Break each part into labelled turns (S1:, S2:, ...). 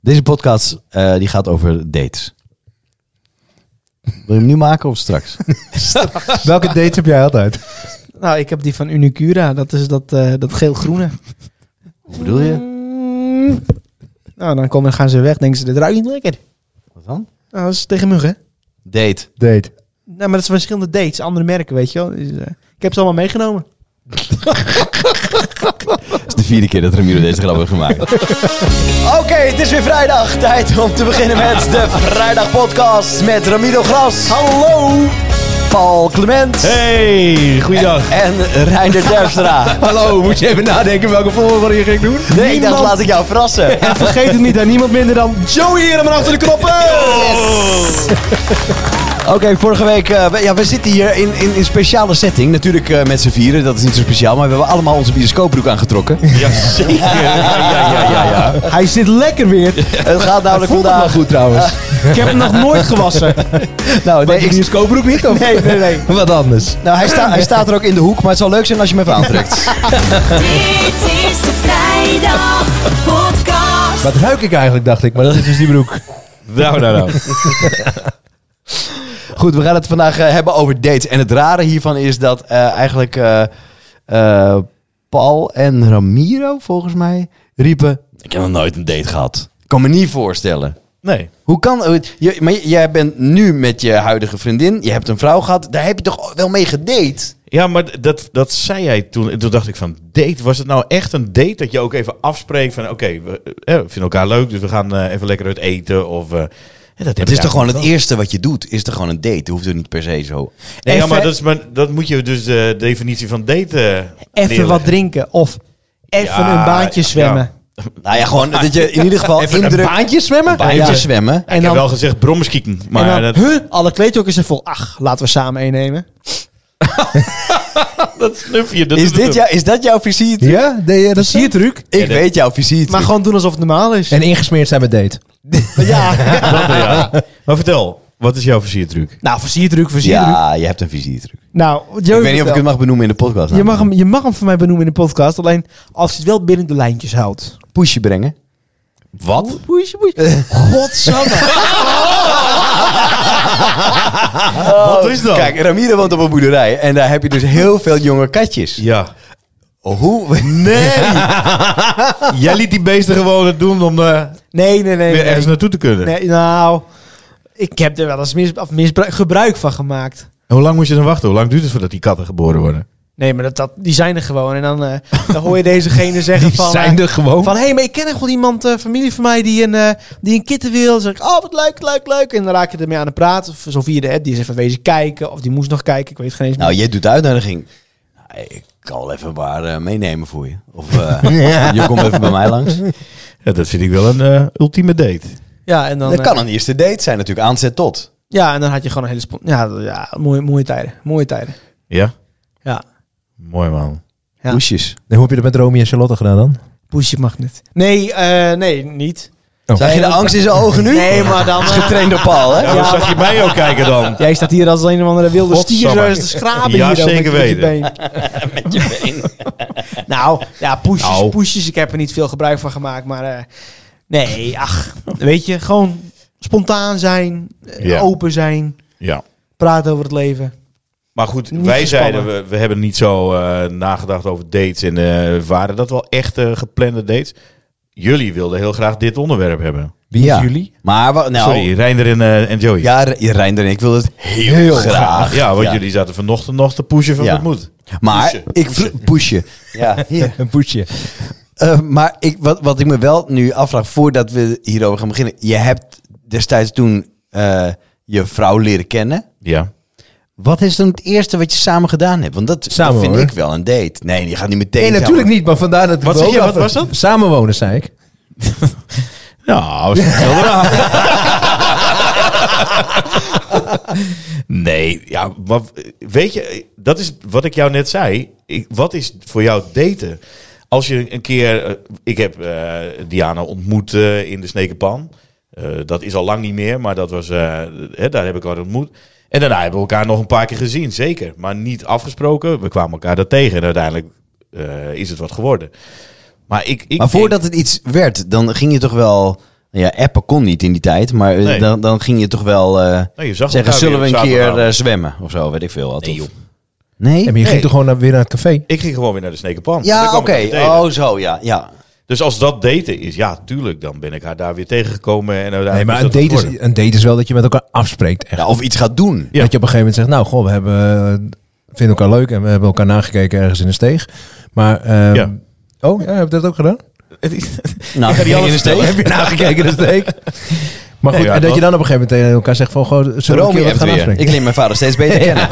S1: Deze podcast eh, die gaat over dates. Wil je hem nu maken of straks?
S2: Welke dates heb jij altijd?
S3: Nou, ik heb die van Unicura. Dat is dat, eh, dat geel-groene.
S1: Hoe bedoel je?
S3: Mm. Nou, dan komen, gaan ze weg. Denken ze, dit ruikt niet lekker.
S1: Wat dan?
S3: Nou, dat is tegen muggen.
S1: Date.
S2: Date.
S3: Nou, maar dat zijn verschillende dates. Andere merken, weet je wel. Dus, eh, ik heb ze allemaal meegenomen.
S1: Dat is de vierde keer dat Ramiro deze grap heeft gemaakt. Oké, het is weer vrijdag. Tijd om te beginnen met de Vrijdag Podcast met Ramiro Gras. Hallo. Paul Clement.
S2: Hey, goeiedag.
S1: En Reinder Terpstra.
S2: Hallo, moet je even nadenken welke volgorde je ging doen?
S1: Nee, ik dacht, laat ik jou verrassen.
S2: En vergeet het niet aan niemand minder dan Joey hier maar achter de knoppen.
S1: Oké, vorige week. eh, we- ja, we zitten hier in een in, in speciale setting. Natuurlijk eh, met z'n vieren, dat is niet zo speciaal. Maar we hebben allemaal onze bioscoopbroek aangetrokken.
S4: Ja, zeker. Ja, ja, ja, ja, ja.
S2: Hij zit lekker weer.
S1: Het gaat namelijk
S2: Voelt hem wel
S1: vandaag.
S2: goed trouwens.
S3: Ik heb hem nog nooit gewassen.
S1: Nou, nee, ik-
S2: bioscoopbroek niet of?
S1: Nee, nee, nee.
S2: Wat anders.
S1: nou hij, sta- hij staat er ook in de hoek, maar het zou leuk zijn als je hem even aantrekt.
S5: Dit is de vrijdag podcast.
S2: Wat ruik ik eigenlijk, dacht ik. Maar dat is dus die broek.
S4: Nou, nou, nou.
S1: Goed, we gaan het vandaag eh, hebben over dates. En het rare hiervan is dat eh, eigenlijk eh, eh, Paul en Ramiro, volgens mij, riepen... Ik heb nog nooit een date gehad. Ik kan me niet voorstellen.
S4: Nee.
S1: Hoe kan... Je, maar jij bent nu met je huidige vriendin. Je hebt een vrouw gehad. Daar heb je toch wel mee gedate?
S4: Ja, maar dat, dat zei jij toen. En toen dacht ik van, date, was het nou echt een date dat je ook even afspreekt van, oké, we, eh, we vinden elkaar leuk, dus we gaan eh, even lekker uit eten of... eh, ja, dat
S1: Het is toch gewoon het eerste wat je doet? Is toch gewoon een date? Hoeft het niet per se zo.
S4: Nee, ja, maar
S3: Even-
S4: dat, is, maar dat moet je dus de definitie van date eh,
S3: Even
S4: neerleggen.
S3: wat drinken. Of even
S4: Ja,
S3: een baantje zwemmen.
S4: ja.
S1: Nou ja, gewoon dat je in ieder geval
S4: Even een
S1: indruk...
S2: Baantje zwemmen?
S1: Een baantje
S3: Ja.
S1: zwemmen.
S4: Ik
S3: En
S4: heb
S3: dan,
S4: wel gezegd brommeskieken, maar
S3: en dan
S4: dat,
S3: huh, alle kleedjokken zijn vol. Ach, laten we samen eennemen.
S4: dat snuf je. Dat
S1: Is,
S4: doet het
S1: dit jou, is dat jouw visie?
S2: Ja, nee, dat zie je truc.
S1: Ik
S4: Ja, dat-
S1: weet jouw visie.
S3: Maar gewoon doen alsof het normaal is.
S2: En ingesmeerd zijn met date.
S3: ja.
S4: ook. Dat, ja. Maar vertel, wat is jouw versiertruc?
S3: nou, versierdruk, versierdruk.
S1: Ja, je hebt een visietruc.
S3: Nou,
S1: Ik
S3: Joey,
S1: weet niet of ik
S3: vertel.
S1: het mag benoemen in de podcast.
S3: je mag, hem, je mag hem voor mij benoemen in de podcast. Alleen als je het wel binnen de lijntjes houdt.
S1: pushje brengen.
S4: Wat?
S3: Poesje, poesje. Godsamme.
S4: wat is dat?
S1: Oh. Kijk, Ramiro woont op een boerderij en daar heb je dus heel veel jonge katjes.
S4: Ja.
S1: Hoe?
S4: Nee! Jij liet die beesten gewoon het doen om eh,
S3: Nee, nee, nee.
S4: weer
S3: nee.
S4: ergens naartoe te kunnen.
S3: Nee, nou, ik heb er wel eens mis, of misbruik, gebruik van gemaakt.
S4: En Hoe lang moest je dan wachten? Hoe lang duurt het voordat die katten geboren worden?
S3: Nee, maar dat, dat, die zijn er gewoon. En dan, eh, dan hoor je dezegene zeggen van... eh,
S2: er
S1: Oh.
S2: gewoon.
S3: van, hé, hey, maar ik ken echt wel iemand, eh, familie van mij, die een, eh, die een kitten wil. Dan zeg ik, oh, wat leuk, leuk, leuk. En dan raak je ermee aan de praat. Of zo via de app, die is even wezen kijken. Of die moest nog kijken, ik weet geen eens meer.
S1: Nou, jij doet de uitnodiging. Nou, Ik kan wel even een paar eh, meenemen voor je. Of eh, je komt even bij mij langs.
S4: Ja, dat vind ik wel een eh, ultieme date.
S3: ja, en dan,
S1: Dat
S3: eh,
S1: kan een eerste date zijn natuurlijk, aanzet tot.
S3: ja, en dan had je gewoon een hele... spon- Ja, dat- ja mooie, mooie tijden, mooie tijden.
S4: Ja?
S3: Ja,
S4: Mooi man.
S3: Ja.
S1: Poesjes.
S2: hoe heb je dat met Romy en Charlotte gedaan dan?
S3: pushje mag niet. Nee, eh, nee, niet.
S1: Zag je de angst in zijn ogen nu?
S3: Nee, maar dan...
S1: Dat
S3: eh,
S1: is getraind door Paul, hè?
S4: Ja, dan zag je mij ook kijken dan.
S3: Jij staat hier als een of andere wilde stier
S4: Godsamme.
S3: zo eens te schrapen
S4: Ja,
S3: hier ook
S4: zeker
S3: met, je- met
S4: weten.
S3: je been. nou, ja, poesjes,
S4: Nou.
S3: poesjes. Ik heb er niet veel gebruik van gemaakt, maar... eh, nee, ach, weet je, gewoon spontaan zijn, eh,
S4: Ja.
S3: open zijn,
S4: Ja.
S3: praten over het leven.
S4: Maar goed,
S3: Niet
S4: wij
S3: gespannen.
S4: zeiden, we, we hebben niet zo eh, nagedacht over dates. En eh, waren dat wel echt eh, geplande dates? Jullie wilden heel graag dit onderwerp hebben.
S2: Wie
S1: Ja.
S2: jullie?
S1: Maar, wa- nou...
S4: Sorry, Reinder en, eh, en Joey.
S1: Ja, Re- Reinder en ik wilde het heel, graag.
S4: Ja, want
S1: Ja.
S4: jullie zaten vanochtend nog te pushen van
S1: Ja.
S4: het moet.
S1: Maar
S4: Pushen,
S1: ik pushen. pushen. Ja, hier.
S2: Een poetje.
S1: Eh, maar ik, wat, wat ik me wel nu afvraag, voordat we hierover gaan beginnen. Je hebt destijds toen eh, je vrouw leren kennen.
S4: Ja.
S1: Wat is dan het eerste wat je samen gedaan hebt? Want dat,
S2: Samen
S1: dat vind
S2: hoor.
S1: ik wel een date. Nee, je gaat niet meteen.
S2: Nee, natuurlijk niet, maar vandaar dat ik
S4: Wat
S2: het
S4: zeg je,
S2: ook
S4: wat
S2: af-
S4: was dat?
S2: Samenwonen, zei ik.
S4: Nou, dat is wel raar. Nee, ja, maar weet je, dat is wat ik jou net zei. Ik, wat is voor jou daten? Als je een keer, eh, ik heb eh, Diana ontmoet eh, in de Snekenpan. Eh, dat is al lang niet meer, maar dat was, eh, hè, daar heb ik haar ontmoet. En daarna hebben we elkaar nog een paar keer gezien, zeker. Maar niet afgesproken. We kwamen elkaar daar tegen en uiteindelijk eh, is het wat geworden. Maar, ik,
S1: Maar
S4: ik denk-
S1: voordat het iets werd, dan ging je toch wel Ja, appen kon niet in die tijd, maar eh,
S4: Nee.
S1: dan, dan ging je toch wel eh,
S4: Nou, je zag
S1: zeggen,
S4: elkaar
S1: zullen we
S4: weer
S1: een
S4: op
S1: keer
S4: zaterdagavond.
S1: eh, zwemmen of zo, weet ik veel. wat.
S4: Nee,
S1: Of-
S4: joh.
S1: nee?
S2: Ja, maar je
S4: Nee.
S2: ging toch gewoon naar, weer naar het café?
S4: Ik ging gewoon weer naar de Snekenpan.
S1: Ja, oké. Oh, zo, ja. ja.
S4: Dus als dat daten is, ja, tuurlijk, dan ben ik haar daar weer tegengekomen. En
S2: Nee,
S4: uiteindelijk
S2: maar
S4: is
S2: een
S4: dat
S2: date, is,
S4: geworden.
S2: een date is wel dat je met elkaar afspreekt. Echt.
S1: ja. Nou, Of iets gaat doen.
S4: Ja.
S2: Dat je op een gegeven moment zegt, nou goh, we hebben, eh, vinden elkaar leuk en we hebben elkaar nagekeken ergens in de steeg. Maar, ehm,
S4: Ja.
S2: oh, ja, heb je dat ook gedaan?
S1: Nou,
S4: die
S1: in
S4: alles
S1: de steeg.
S4: vertellen.
S2: Heb je nagekeken in de steeg? Maar goed,
S4: ja,
S2: en dat
S4: dat-
S2: je dan op een gegeven moment tegen elkaar zegt van, goh, zullen we een
S1: Romy
S2: keer wat
S1: hebt
S2: gaan
S1: weer.
S2: afspreken?
S1: Ik leer mijn vader steeds beter kennen.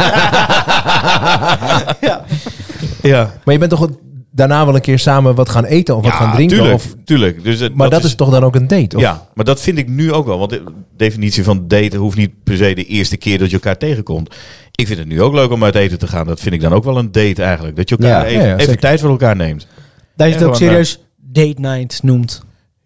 S4: Ja,
S2: Maar je bent toch wel daarna wel een keer samen wat gaan eten of wat
S4: Ja,
S2: gaan drinken?
S4: tuurlijk,
S2: Of,
S4: tuurlijk. Dus dat,
S2: maar dat, is, toch dan ook een date? Of,
S4: Ja, maar dat vind ik nu ook wel. Want de definitie van daten hoeft niet per se de eerste keer dat je elkaar tegenkomt. Ik vind het nu ook leuk om uit eten te gaan. Dat vind ik dan ook wel een date eigenlijk. Dat je elkaar
S1: Ja,
S4: even,
S2: ja, ja,
S4: even
S2: zeker.
S4: tijd voor elkaar neemt.
S3: Daar is
S4: En
S3: het ook
S4: gewoon, eh, Oh,
S3: serieus date night noemt.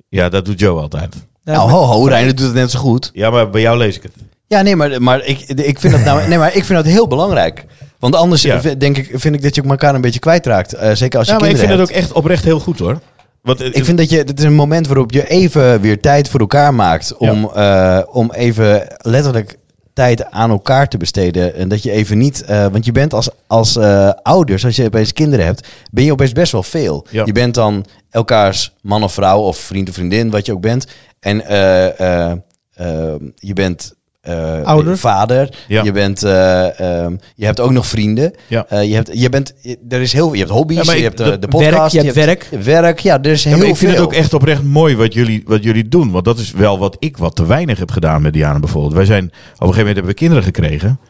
S4: Ja, dat doet Joe altijd.
S3: Ja,
S1: Nou,
S3: maar-
S1: ho, ho, Reiner doet het net zo goed.
S4: Ja, maar bij jou lees ik het.
S1: Ja, nee, maar, maar, ik, ik vind dat nou, nee, maar ik vind dat heel belangrijk. Want anders
S4: Ja.
S1: eh, denk ik, vind ik dat je elkaar een beetje kwijtraakt. Eh, zeker als je
S4: Ja, maar ik
S1: kinderen
S4: vind
S1: hebt.
S4: het ook echt oprecht heel goed hoor. Want eh,
S1: Ik vind dat je, dit is een moment waarop je even weer tijd voor elkaar maakt. Om, eh, om even letterlijk tijd aan elkaar te besteden. En dat je even niet, eh, want je bent als, als eh, ouders, als je opeens kinderen hebt, ben je opeens best wel veel.
S4: Ja.
S1: Je bent dan elkaars man of vrouw of vriend of vriendin, wat je ook bent. En eh, eh, eh, je bent eh,
S3: Ouder.
S1: vader.
S4: Ja.
S1: Je, bent, eh, ehm, je hebt ook nog vrienden.
S4: Ja.
S1: Eh, je, hebt, je, bent, je- er is heel, je hebt hobby's,
S4: Ja, maar
S1: je
S4: ik-
S1: hebt eh,
S4: dat-
S1: de podcast.
S3: werk, je hebt werk.
S1: Werk, ja, er is
S4: Ja,
S1: heel
S4: maar ik vind
S1: veel.
S4: het ook echt oprecht mooi wat jullie, wat jullie doen. Want dat is wel wat ik wat te weinig heb gedaan met Diana bijvoorbeeld. Wij zijn, op een gegeven moment hebben we kinderen gekregen.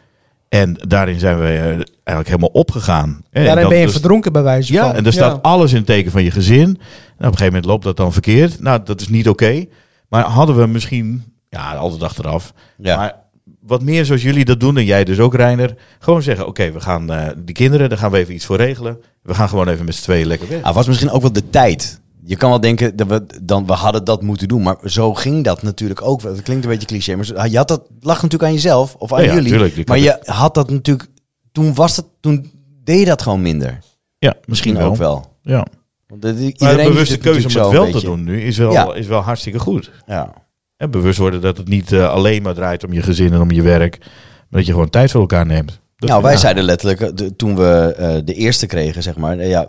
S4: En daarin zijn we eh, eigenlijk helemaal opgegaan. En
S3: Daarin
S4: dat-
S3: ben je
S4: dus-
S3: verdronken bij wijze van.
S4: Ja, en daar staat alles in het teken van je gezin. Nou, op een gegeven moment loopt dat dan verkeerd. Nou, dat is niet oké. Maar hadden we misschien, ja, altijd achteraf.
S1: Ja.
S4: Maar wat meer zoals jullie dat doen en jij dus ook, Reiner. Gewoon zeggen, oké, we gaan eh die kinderen, daar gaan we even iets voor regelen. We gaan gewoon even met z'n tweeën lekker weg.
S1: Ah, was misschien ook wel de tijd. Je kan wel denken, dat we, dan, we hadden dat moeten doen. Maar zo ging dat natuurlijk ook wel. Dat klinkt een beetje cliché. Maar zo- ah, je had dat, lag natuurlijk aan jezelf of aan
S4: Ja, ja,
S1: jullie.
S4: tuurlijk, die
S1: maar
S4: kan
S1: je had dat natuurlijk... Toen was dat... Toen deed je dat gewoon minder.
S4: Ja,
S1: Misschien ook wel.
S4: Nou. Ja.
S1: Want eh, dat-
S4: Maar
S1: doet
S4: de bewuste
S1: het
S4: keuze
S1: natuurlijk
S4: om het
S1: zo
S4: wel
S1: een
S4: te
S1: beetje.
S4: doen nu is wel,
S1: Ja.
S4: is wel hartstikke goed.
S1: Ja.
S4: En bewust worden dat het niet eh, alleen maar draait om je gezin en om je werk. Maar dat je gewoon tijd voor elkaar neemt. Dat
S1: nou,
S4: vind
S1: wij
S4: ik-
S1: zeiden letterlijk, eh, de- toen we eh, de eerste kregen, zeg maar, eh, ja,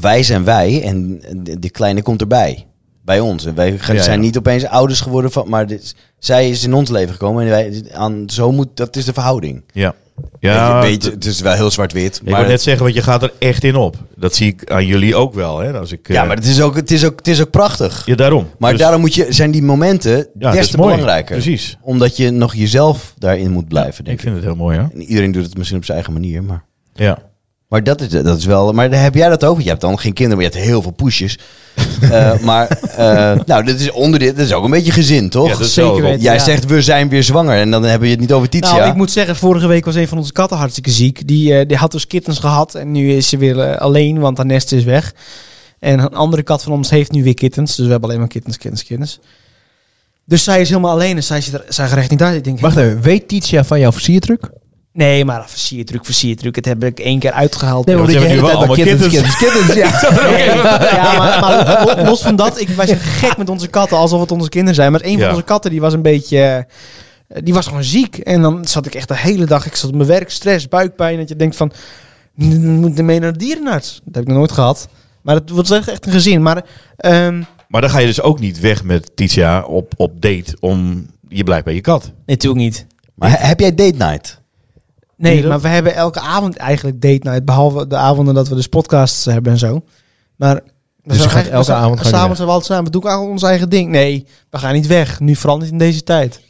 S1: wij zijn wij en de, de kleine komt erbij. Bij ons. En wij gaan-
S4: Ja,
S1: zijn
S4: ja.
S1: niet opeens ouders geworden, van, maar dit, zij is in ons leven gekomen en wij aan, zo moet, dat is de verhouding.
S4: Ja, ja
S1: Weet je, weet je,
S4: d-
S1: het is wel heel zwart-wit.
S4: ik
S1: Maar,
S4: wou net zeggen, want je gaat er echt in op. Dat zie ik aan jullie ook wel. Hè? Als ik,
S1: ja,
S4: eh,
S1: maar het is ook, het is ook, het is ook prachtig.
S4: ja, daarom.
S1: Maar
S4: Dus-
S1: daarom moet je, zijn die momenten
S4: ja, dat
S1: des
S4: is
S1: te
S4: mooi.
S1: belangrijker.
S4: Precies.
S1: Omdat je nog jezelf daarin moet blijven, denk
S4: Ik
S1: ik.
S4: vind het heel mooi, hoor.
S1: En iedereen doet het misschien op zijn eigen manier, maar...
S4: Ja.
S1: Maar dat is, dat is wel. Maar heb jij dat ook? Want Je hebt dan geen kinderen, maar je hebt heel veel poesjes. Eh, maar eh, nou, dit is onder dit, dat is ook een beetje gezin, toch?
S4: Ja, dat is
S3: zeker
S4: wel-
S3: weten.
S1: Jij
S3: ja.
S1: zegt we zijn weer zwanger en dan hebben je het niet over Titia.
S3: Nou, ik moet zeggen, vorige week was een van onze katten hartstikke ziek. Die, eh, die had dus kittens gehad en nu is ze weer eh, alleen, want haar nest is weg. En een andere kat van ons heeft nu weer kittens, dus we hebben alleen maar kittens, kittens, kittens. Dus zij is helemaal alleen en zij zit er, zij gaat er echt niet uit. Ik denk,
S2: Wacht even, weet Titia van jouw versiertruc?
S3: nee, maar een versiertruc, versiertruc, het heb ik één keer uitgehaald.
S2: Nee,
S4: Ja, want
S2: omdat
S4: ze
S2: je
S4: hebben
S2: de
S4: nu wel
S2: hele tijd maar
S4: allemaal
S2: kittens, kittens, kittens, ja.
S3: ja, maar, maar los van dat, ik, wij zijn gek met onze katten, alsof het onze kinderen zijn. Maar een van
S4: Ja.
S3: onze katten, die was een beetje... eh, Die was gewoon ziek. En dan zat ik echt de hele dag, ik zat op mijn werk, stress, buikpijn. Dat je denkt van, "N- moet ik mee naar de dierenarts? Dat heb ik nog nooit gehad. Maar het wordt echt echt een gezin. Maar ehm,
S4: Maar dan ga je dus ook niet weg met Titia op, op date om... Je blijft bij je kat.
S3: nee, natuurlijk niet.
S1: Maar he- heb jij date night?
S4: Doe je
S3: Nee,
S4: dat?
S3: maar we hebben elke avond eigenlijk date night. Behalve de avonden dat we dus podcasts hebben en zo. Maar we
S2: Dus je gaat
S3: eigenlijk-
S2: elke
S3: we zijn-
S2: avond ga je
S3: S'avonds
S2: weg?
S3: zijn we altijd samen. We doen al ons eigen ding. Nee, we gaan niet weg. Nu vooral niet in deze tijd.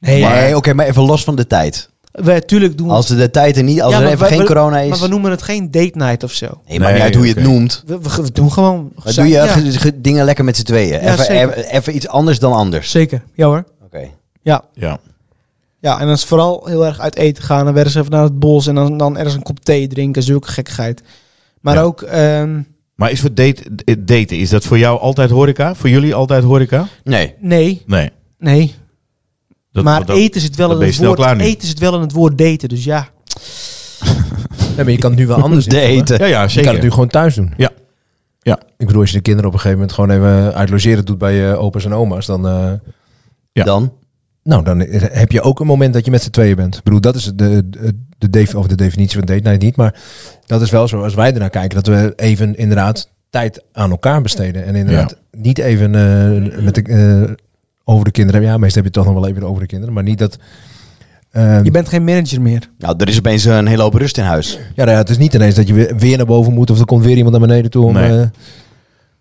S3: Nee,
S1: Nee, oké, maar even los van de tijd.
S3: we, tuurlijk doen we...
S1: Als de tijd er niet, als
S3: Ja,
S1: er
S3: maar
S1: even
S3: we-
S1: geen
S3: we-
S1: corona is.
S3: Maar we noemen het geen date night of zo.
S1: nee, maar
S4: Nee,
S1: niet uit hoe je
S4: oké.
S1: het noemt.
S3: We, we- we doen gewoon...
S1: Maar doe je
S3: Ja,
S1: ge- ge- dingen lekker met z'n tweeën.
S3: Ja,
S1: even,
S3: zeker.
S1: even, even iets anders dan anders.
S3: Zeker, ja hoor.
S1: Oké.
S3: Ja.
S4: Ja.
S3: ja, en dan is het vooral heel erg uit eten gaan. En weer eens even naar het bos. En dan, dan ergens een kop thee drinken. Zulke gekkigheid. Maar
S4: Ja.
S3: ook... ehm,
S4: Maar is voor date, d- daten, is dat voor jou altijd horeca? Voor jullie altijd horeca?
S1: Nee.
S3: nee,
S4: Nee.
S3: nee.
S4: Dat,
S3: maar
S4: dat-
S3: eten zit wel
S4: dan
S3: in
S4: ben je
S3: het
S4: snel
S3: woord
S4: klaar nu.
S3: eten zit wel in het woord daten, dus ja.
S2: Nee, maar je kan het nu wel anders doen.
S1: Daten.
S4: Ja, ja,
S2: Je kan
S4: zeker.
S2: het nu gewoon thuis doen. Ja. Ik bedoel, als je de kinderen op een gegeven moment gewoon even uitlogeren doet bij je opa's en oma's, dan, eh, Ja.
S1: Dan?
S2: nou, dan heb je ook een moment dat je met z'n tweeën bent. Ik bedoel, dat is de, de, de, def- of de definitie van date night niet, maar dat is wel zo als wij ernaar kijken, dat we even inderdaad tijd aan elkaar besteden. En inderdaad niet even eh, met de, eh, over de kinderen. Ja, meestal heb je het toch nog wel even over de kinderen, maar niet dat... ehm,
S3: Je bent geen manager meer.
S1: Nou, er is opeens een hele hoop rust in huis.
S2: Ja, nou ja, het is niet ineens dat je weer- weer naar boven moet of er komt weer iemand naar beneden toe om
S4: Nee.
S2: eh,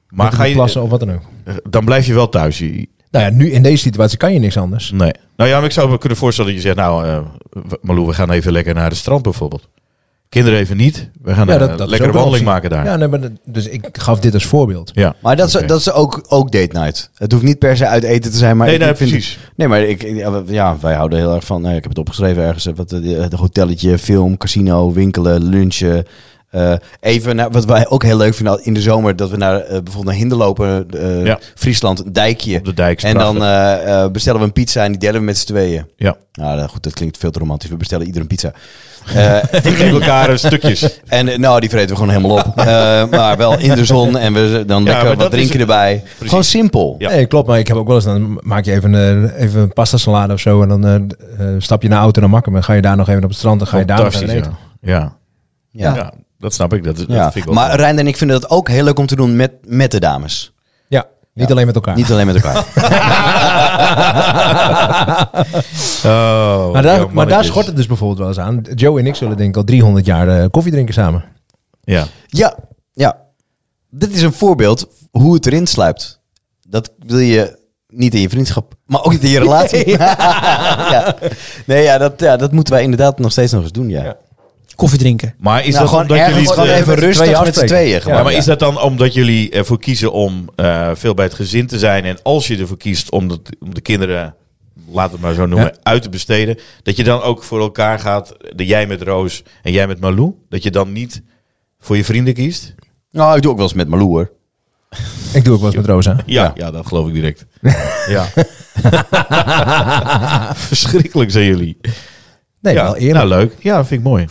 S4: Maar
S2: te
S4: ga je, eh,
S2: plassen of wat dan ook.
S4: dan blijf je wel thuis. Je-
S2: Nou ja, nu in deze situatie kan je niks anders.
S4: Nee. Nou ja, maar ik zou me kunnen voorstellen dat je zegt, nou eh, w- Malou, we gaan even lekker naar het strand bijvoorbeeld. Kinderen even niet. We gaan
S2: Ja,
S4: eh,
S2: dat- dat is
S4: lekker
S2: ook
S4: een
S2: een
S4: wandeling
S2: optie.
S4: maken daar.
S2: Ja, nee, maar dat- dus ik gaf dit als voorbeeld.
S4: Ja.
S1: Maar dat,
S4: Oké.
S1: is, dat is ook, ook date night. Het hoeft niet per se uit eten te zijn, maar
S4: nee,
S1: ik,
S4: nee,
S1: ik vind
S4: precies.
S1: Nee, maar ik, ja, wij houden heel erg van. nou ja, ik heb het opgeschreven ergens. eh, Wat, eh, het hotelletje, film, casino, winkelen, lunchen. eh, even naar, wat wij ook heel leuk vinden in de zomer. Dat we naar eh, bijvoorbeeld naar Hinder lopen. eh,
S4: Ja.
S1: Friesland, een dijkje.
S4: Op de dijk. is
S1: En dan
S4: prachtig.
S1: eh, eh, bestellen we een pizza en die delen we met z'n tweeën.
S4: Ja.
S1: Nou eh, goed, dat klinkt veel te romantisch. We bestellen ieder een pizza. Eh,
S4: We geven elkaar eh, stukjes.
S1: en eh, nou, die vreten we gewoon helemaal op. Eh, maar wel in de zon en we dan
S4: maar
S1: lekker
S4: dat
S1: wat
S4: is
S1: drinken
S4: het.
S1: erbij. Gewoon simpel.
S4: Ja.
S2: Nee, klopt. Maar ik heb ook wel eens, dan maak je even, eh, even een pasta salade of zo. En dan eh, eh, stap je naar de auto naar Makkum. En ga je daar nog even op het strand. Dan ga je daar nog even
S4: Fantastisch.
S2: eten.
S4: Ja.
S1: Ja.
S4: Ja. Ja, dat snap ik. Dat, dat
S1: Ja,
S4: vind ik wel
S1: maar Rijn en ik vinden dat ook heel leuk om te doen met, met de dames.
S2: Ja, niet alleen met elkaar.
S1: Niet alleen met elkaar.
S4: Oh,
S2: maar daar, maar
S4: jouw
S2: daar
S4: mannetjes.
S2: schort het dus bijvoorbeeld wel eens aan. Joe en ik zullen denk ik al 300 jaar eh, koffie drinken samen.
S4: Ja.
S1: ja, ja. Dit is een voorbeeld hoe het erin sluipt. Dat wil je niet in je vriendschap, maar ook niet in je relatie. Nee, ja. Nee, ja, dat, ja, dat moeten wij inderdaad nog steeds nog eens doen, ja.
S3: Koffie drinken.
S4: Maar is
S1: Nou,
S4: dat
S1: gewoon
S4: omdat
S1: ergens
S4: jullie...
S1: gewoon
S4: eh,
S1: even
S2: met z'n tweeën
S1: rustig met z'n
S2: afspreken.
S1: tweeën.
S4: Ja,
S1: Gewoon.
S4: maar is dat dan omdat jullie ervoor kiezen om eh, veel bij het gezin te zijn... en als je ervoor kiest om, dat, om de kinderen, laten we het maar zo noemen,
S2: Ja.
S4: uit te besteden... dat je dan ook voor elkaar gaat, de jij met Roos en jij met Malou... dat je dan niet voor je vrienden kiest?
S1: Nou, ik doe ook wel eens met Malou, hoor.
S2: Ik doe ook wel eens met Rosa.
S4: Ja,
S1: Ja.
S4: ja. dat geloof ik direct. ja. Verschrikkelijk zijn jullie.
S2: Nee,
S4: ja.
S2: wel eerlijk.
S4: Nou, leuk. Ja, vind ik mooi.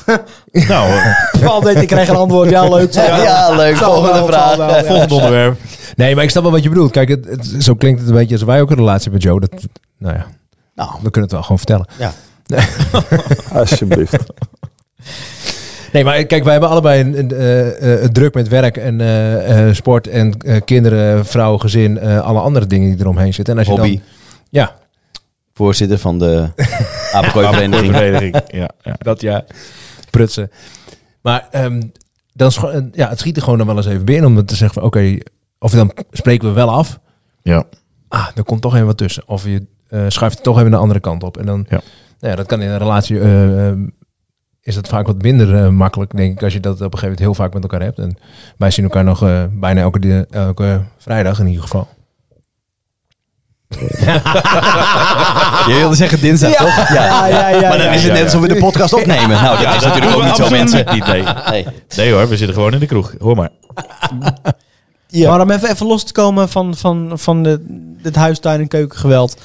S4: nou, eh,
S3: Altijd, ik krijg een antwoord. Ja, leuk.
S1: Ja, leuk.
S3: Zal
S1: Volgende
S3: wel,
S1: vraag.
S3: zal wel, ja.
S4: volgend onderwerp.
S2: Nee, maar ik snap wel wat je bedoelt. Kijk, het, het- zo klinkt het een beetje als wij ook een relatie hebben met Joe. Dat, nou ja,
S1: Nou,
S2: we kunnen het wel gewoon vertellen.
S1: ja.
S6: Alsjeblieft.
S2: Nee, maar kijk, wij hebben allebei een, een, eh, eh, het druk met werk en eh, eh, sport en eh, kinderen, vrouw, gezin, eh, alle andere dingen die eromheen zitten. En als je
S1: Hobby.
S2: dan, ja,
S1: Voorzitter van de apenkooi-vereniging.
S4: Vereniging. Ja, ja.
S2: dat ja, prutsen. Maar ehm, dan scho- eh, ja, het schiet er gewoon dan wel eens even binnen om dan te zeggen van oké, of dan spreken we wel af.
S4: ja.
S2: Ah, er komt toch even wat tussen. Of je eh, schuift het toch even de andere kant op. En dan,
S4: Ja.
S2: Nou ja, dat kan in een relatie, eh, ehm, is dat vaak wat minder eh, makkelijk, denk ik, als je dat op een gegeven moment heel vaak met elkaar hebt. En wij zien elkaar nog eh, bijna elke, di- elke vrijdag in ieder geval.
S1: Je wilde zeggen dinsdag, toch? Ja.
S3: ja, ja,
S1: Maar dan
S4: ja,
S1: is het
S4: ja,
S1: net alsof we de podcast opnemen. Nou, dat is natuurlijk ook niet zo, mensen.
S4: Niet, nee.
S1: Nee.
S4: nee hoor, we zitten gewoon in de kroeg. Hoor maar.
S3: Maar om even, even los te komen van, van, van de, het huistuin- en keukengeweld.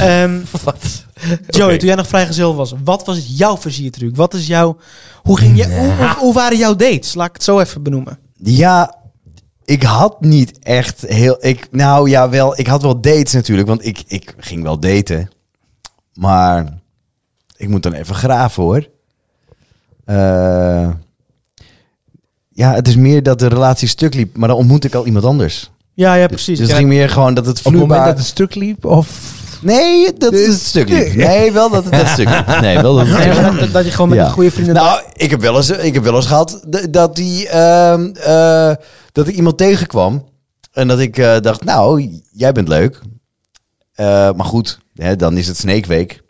S3: Ehm wat? Joey,
S4: Oké.
S3: toen jij nog vrijgezel was, wat was jouw versiertruc? Wat is jouw... Hoe, ging je, hoe, hoe, hoe waren jouw dates? Laat ik het zo even benoemen.
S1: Ja, ik had niet echt heel. Ik, nou ja, wel. Ik had wel dates natuurlijk, want ik, ik ging wel daten. Maar ik moet dan even graven hoor. Eh, ja, het is meer dat de relatie stuk liep, maar dan ontmoet ik al iemand anders.
S3: Ja, ja, precies.
S1: Dus het
S3: Ja.
S1: ging meer gewoon dat het
S2: Op het moment
S1: vloeibaar...
S2: dat het stuk liep, of...
S1: Nee, dat is het stuk liep. Nee, wel dat het dat stuk liep. Nee, wel dat het stuk liep.
S3: Ja, dat, dat je gewoon met
S1: Ja.
S3: een goede vrienden...
S1: Nou, ik heb wel eens, ik heb wel eens gehad d- dat, die, ehm, eh, dat ik iemand tegenkwam. En dat ik eh, dacht, nou, jij bent leuk. Eh, maar goed, hè, dan is het Snake Week.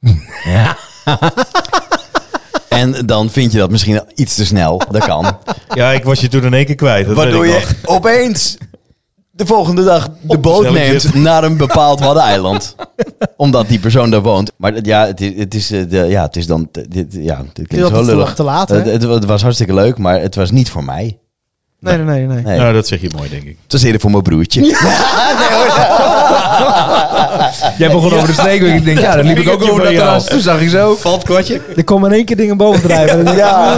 S1: en dan vind je dat misschien iets te snel. Dat kan.
S4: Ja, ik was je toen in één keer kwijt. Dat
S1: Waardoor
S4: weet ik
S1: je
S4: nog.
S1: opeens de volgende dag de boot
S4: snelle
S1: neemt
S4: jet.
S1: naar een bepaald Waddeneiland. Omdat die persoon daar woont. Maar het- ja, het is, het is, eh, de, ja, het is dan... Dit, ja, dit
S3: dat
S1: klinkt zo
S3: het
S1: lullig.
S3: te laat, hè?
S1: het, het, het was hartstikke leuk, maar het was niet voor mij.
S3: nee, nee, nee, nee.
S1: Nee.
S4: Nou, dat zeg je mooi, denk ik.
S1: Het was eerder voor mijn broertje.
S2: Jij begon over de streek. Ik denk, ja, dat liep ik ook over dat terras. Toen zag ik zo.
S1: Valt kwartje?
S3: Er komen in één keer dingen boven drijven.
S1: Ja,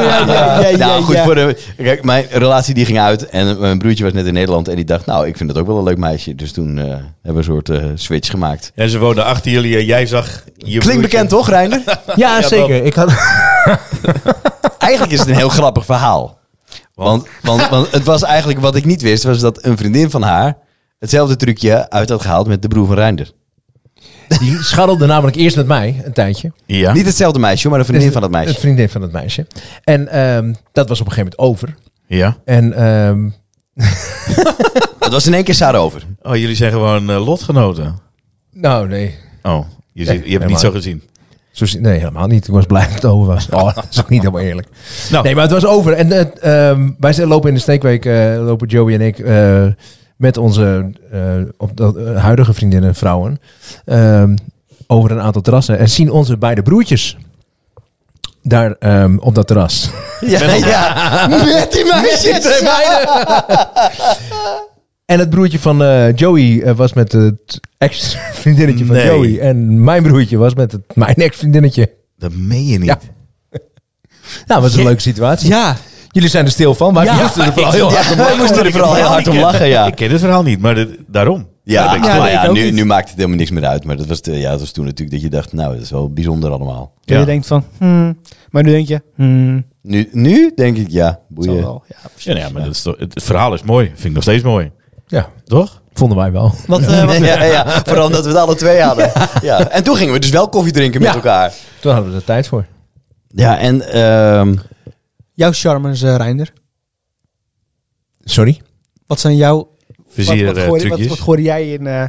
S1: nou goed. Voor de, kijk, mijn relatie die ging uit en mijn broertje was net in Nederland en die dacht, nou, ik vind het ook wel een leuk meisje. Dus toen eh, hebben we een soort eh, switch gemaakt.
S4: En ze woonden achter jullie en jij zag... Je
S1: Klinkt
S4: broertje.
S1: bekend toch, Reiner?
S2: Ja,
S4: dat-
S2: zeker. Ik had...
S1: Eigenlijk is het een heel grappig verhaal. Want, want, want het was eigenlijk wat ik niet wist, was dat een vriendin van haar hetzelfde trucje uit had gehaald met de broer van Reinder.
S2: Die scharrelde namelijk eerst met mij een tijdje.
S4: Ja.
S1: Niet hetzelfde meisje, maar een vriendin van dat
S2: Het
S1: meisje.
S2: vriendin van het meisje. En ehm, dat was op een gegeven moment over.
S4: ja.
S2: En ehm,
S1: Het was in één keer Sarah over.
S4: Oh, jullie zijn gewoon eh, lotgenoten.
S2: nou, nee.
S4: Oh,
S2: Nee,
S4: je, zit, je hebt het
S2: helemaal
S4: niet zo gezien.
S2: Zo, zie- nee, helemaal niet. Ik was blij dat het over was. Oh, dat is ook niet helemaal eerlijk.
S4: Nou.
S2: Nee, maar het was over. En eh, ehm, wij zijn- lopen in de steekweek, eh, lopen Joey en ik, eh, met onze eh, op dat, eh, huidige vriendinnen, vrouwen, ehm, over een aantal terrassen. En zien onze beide broertjes daar ehm, op dat terras.
S1: Ja, ja. met die meisjes.
S2: En het broertje van eh, Joey eh, was met het ex-vriendinnetje van
S4: Nee.
S2: Joey. En mijn broertje was met het, mijn ex-vriendinnetje.
S4: Dat meen je niet.
S2: Ja. Nou, was een leuke situatie.
S3: Ja,
S2: Jullie zijn er stil van, maar
S3: Ja.
S2: we moesten er vooral heel hard om
S1: Ja, wij moesten er vooral heel hard om lachen, ja.
S4: Ik ken het verhaal niet, maar dit- daarom.
S1: Ja,
S4: Daar ben ik
S1: maar
S4: stil.
S1: ja,
S3: ik ook
S1: nu,
S3: niet.
S1: nu maakt het helemaal niks meer uit. Maar dat was, de, ja, dat was toen natuurlijk dat je dacht, nou, dat is wel bijzonder allemaal.
S4: Ja.
S3: Je denkt van, hmm. maar nu denk je, hmm,
S1: Nu, nu denk ik, ja,
S3: zal
S1: boeien.
S3: wel. Ja, precies.
S4: Ja, nou ja, maar dat is toch, het, het verhaal is mooi. Vind ik nog steeds mooi.
S2: Ja,
S4: Toch?
S2: vonden wij wel.
S3: Wat, eh, wat,
S1: Ja, ja, vooral dat we het alle twee hadden. Ja. En toen gingen we dus wel koffie drinken met
S2: Ja.
S1: elkaar.
S2: Toen hadden we er tijd voor.
S1: Ja, en ehm,
S3: jouw charmes, eh Reinder?
S2: Sorry?
S3: Wat zijn jouw...
S4: Plezier
S3: wat, wat,
S4: eh,
S3: gooide-
S4: trucjes.
S3: wat, wat gooide jij in, eh,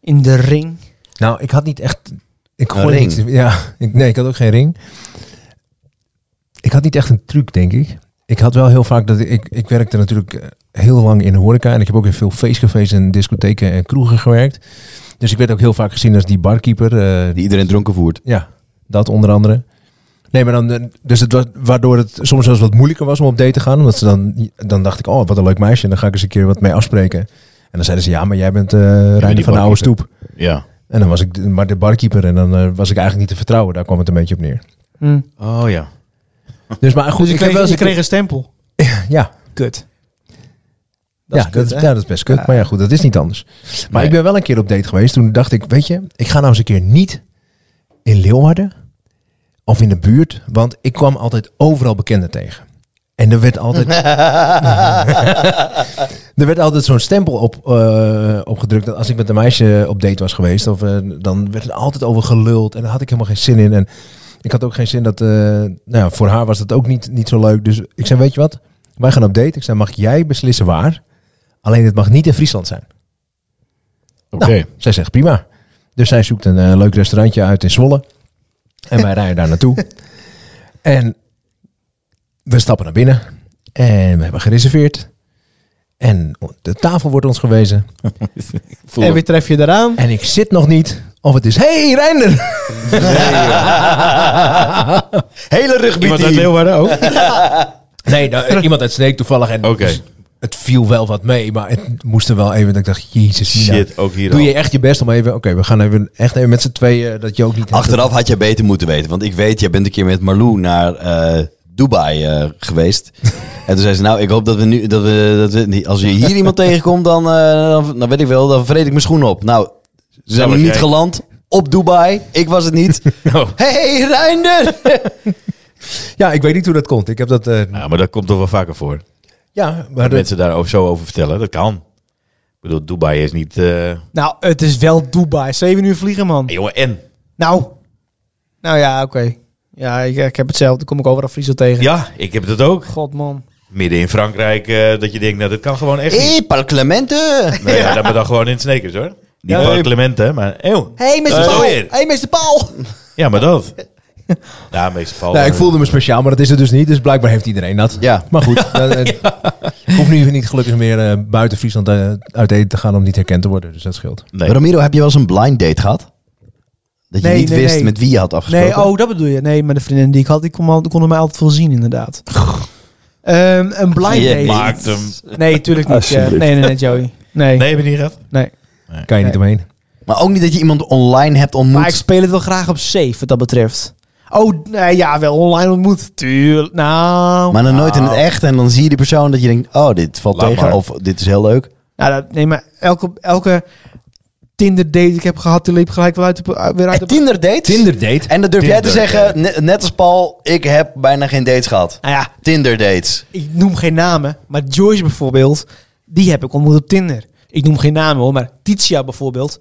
S3: in de ring?
S2: Nou, ik had niet echt... Ik
S1: Een
S2: gooide
S1: ring.
S2: niet- ja, ik, nee, ik had ook geen ring. Ik had niet echt een truc, denk ik. Ik had wel heel vaak dat ik... Ik, ik werkte natuurlijk eh, heel lang in de horeca. En ik heb ook in veel feestcafés en discotheken en kroegen gewerkt. Dus ik werd ook heel vaak gezien als die barkeeper. eh,
S1: die iedereen dronken voert.
S2: Ja, dat onder andere. Nee, maar dan, eh, dus het was, waardoor het soms zelfs wat moeilijker was om op date te gaan. Omdat ze dan, dan dacht ik, oh, wat een leuk meisje. En dan ga ik eens een keer wat mee afspreken. En dan zeiden ze, ja, maar jij bent eh Reiner van de oude
S4: barkeeper.
S2: stoep.
S4: Ja.
S2: En dan was ik de- maar de barkeeper. En dan eh, was ik eigenlijk niet te vertrouwen. Daar kwam het een beetje op neer.
S3: Hmm.
S4: Oh ja.
S2: Dus maar goed,
S3: Dus je
S2: ik heb
S3: kreeg,
S2: wel eens
S3: je
S2: een keer-
S3: kreeg een stempel.
S2: Ja,
S3: Kut. Dat
S2: ja, dat,
S3: is
S2: is-
S3: kut, hè?
S2: ja, dat is best kut. Maar ja, goed, dat is niet anders. Maar
S4: Nee.
S2: ik ben wel een keer op date geweest. Toen dacht ik, weet je, ik ga nou eens een keer niet in Leeuwarden of in de buurt. Want ik kwam altijd overal bekenden tegen. En er werd altijd, er werd altijd zo'n stempel op, eh, opgedrukt. Dat als ik met een meisje op date was geweest, of, eh, dan werd er altijd over geluld. En daar had ik helemaal geen zin in. En ik had ook geen zin dat... eh, nou ja, voor haar was dat ook niet, niet zo leuk. Dus ik zei, weet je wat? Wij gaan op date. Ik zei, mag jij beslissen waar? Alleen het mag niet in Friesland zijn.
S4: Oké.
S2: Nou, zij zegt prima. Dus zij zoekt een eh, leuk restaurantje uit in Zwolle. En wij rijden daar naartoe. En we stappen naar binnen. En we hebben gereserveerd. En de tafel wordt ons gewezen.
S4: Voel
S3: En weer tref je eraan.
S2: En ik zit nog niet of het is... hey, Reinder!
S1: Hele rugby
S4: Iemand uit Leeuwarden ook?
S2: Nee, nou, iemand uit Sneek toevallig. En
S4: Oké.
S2: dus het viel wel wat mee. Maar het moest er wel even... Dat ik dacht, jezus, Mina,
S4: Shit, ook hier
S2: Doe
S4: al.
S2: je echt je best om even... Oké, we gaan even, echt even met z'n tweeën... eh, Dat je ook niet...
S1: Achteraf had jij beter moeten weten. Want ik weet, jij bent een keer met Marlou naar eh, Dubai eh, geweest. en toen zei ze, nou, ik hoop dat we nu... Dat we, dat we, niet- als je hier iemand tegenkomt, dan, eh, dan, dan weet ik wel, dan vreet ik mijn schoenen op. Nou, ze zijn
S4: was
S1: nog niet
S4: jij.
S1: geland op Dubai. Ik was het niet.
S4: Nou,
S1: hey, Reinder!
S2: Ja, ik weet niet hoe dat komt. Ik heb dat... eh,
S4: ja, maar dat komt toch wel vaker voor. Dat
S2: Ja,
S3: Ah,
S2: maar dat-
S4: mensen daar ook zo over vertellen, dat kan. Ik bedoel, Dubai is niet... eh,
S3: Nou, het is wel Dubai. Zeven uur vliegen, man.
S4: hey, jongen, en?
S3: Nou. Nou ja, oké. Ja, ik, ik heb hetzelfde. Kom ik overal Friesel tegen.
S4: Ja, ik heb dat ook.
S3: God, man.
S4: Midden in Frankrijk, eh, dat je denkt, nou, dat kan gewoon echt niet.
S1: hey, Paul Clemente!
S4: Nee, ja. dat we dan gewoon in Snekers, hoor. Niet
S1: Ja.
S4: ja. Clement, hè, maar... Eeuw.
S3: Hé, hey, Mr.
S4: Eh,
S3: Paul.
S4: weer.
S3: hey, Mr. Paul.
S4: Ja, maar dat. Ja, meestal vallen.
S2: Nou, ik voelde me speciaal, maar dat is het dus niet. Dus blijkbaar heeft iedereen dat.
S1: Ja.
S2: Maar goed, dan, eh, ik hoef nu niet gelukkig meer eh, buiten Friesland eh, uit eten te gaan om niet herkend te worden. Dus dat scheelt.
S4: Nee.
S1: Ramiro, heb je wel eens een blind date gehad? Dat je
S3: Nee,
S1: niet
S3: nee,
S1: wist
S3: nee.
S1: met wie je had afgesproken?
S3: Nee, oh, dat bedoel je. Nee, maar de vriendin die ik had, die kon, al- konden mij altijd veel zien, inderdaad. Ehm, een blind
S1: Je
S3: date.
S4: Maakt hem.
S3: Nee, tuurlijk niet. eh,
S6: Alsjeblieft.
S3: nee, nee, nee, Joey. Nee,
S4: Nee, heb je niet gehad?
S3: nee.
S2: Kan je niet omheen.
S1: Maar ook niet dat je iemand online hebt
S3: Maar ik
S1: ontmoet.
S3: speel het wel graag op safe, wat dat betreft. Oh, nee, ja, wel online ontmoet. Tuurlijk. Nou.
S1: Maar dan nooit in
S3: nou.
S1: het echt. En dan zie je die persoon dat je denkt, oh, dit valt
S4: Laat
S1: tegen.
S4: maar.
S1: Of dit is heel leuk.
S3: Nou, dat, nee, maar elke, elke Tinder date die ik heb gehad, die liep gelijk wel uit de, weer uit de...
S1: En Eh, Tinder dates?
S2: Tinder date.
S1: En dat durf jij te
S4: Tinder
S1: zeggen, ne- net als Paul, ik heb bijna geen dates gehad.
S3: Nou ja,
S1: Tinder dates.
S3: ik noem geen namen, maar Joyce bijvoorbeeld, die heb ik ontmoet op Tinder. Ik noem geen namen hoor, maar Titia bijvoorbeeld,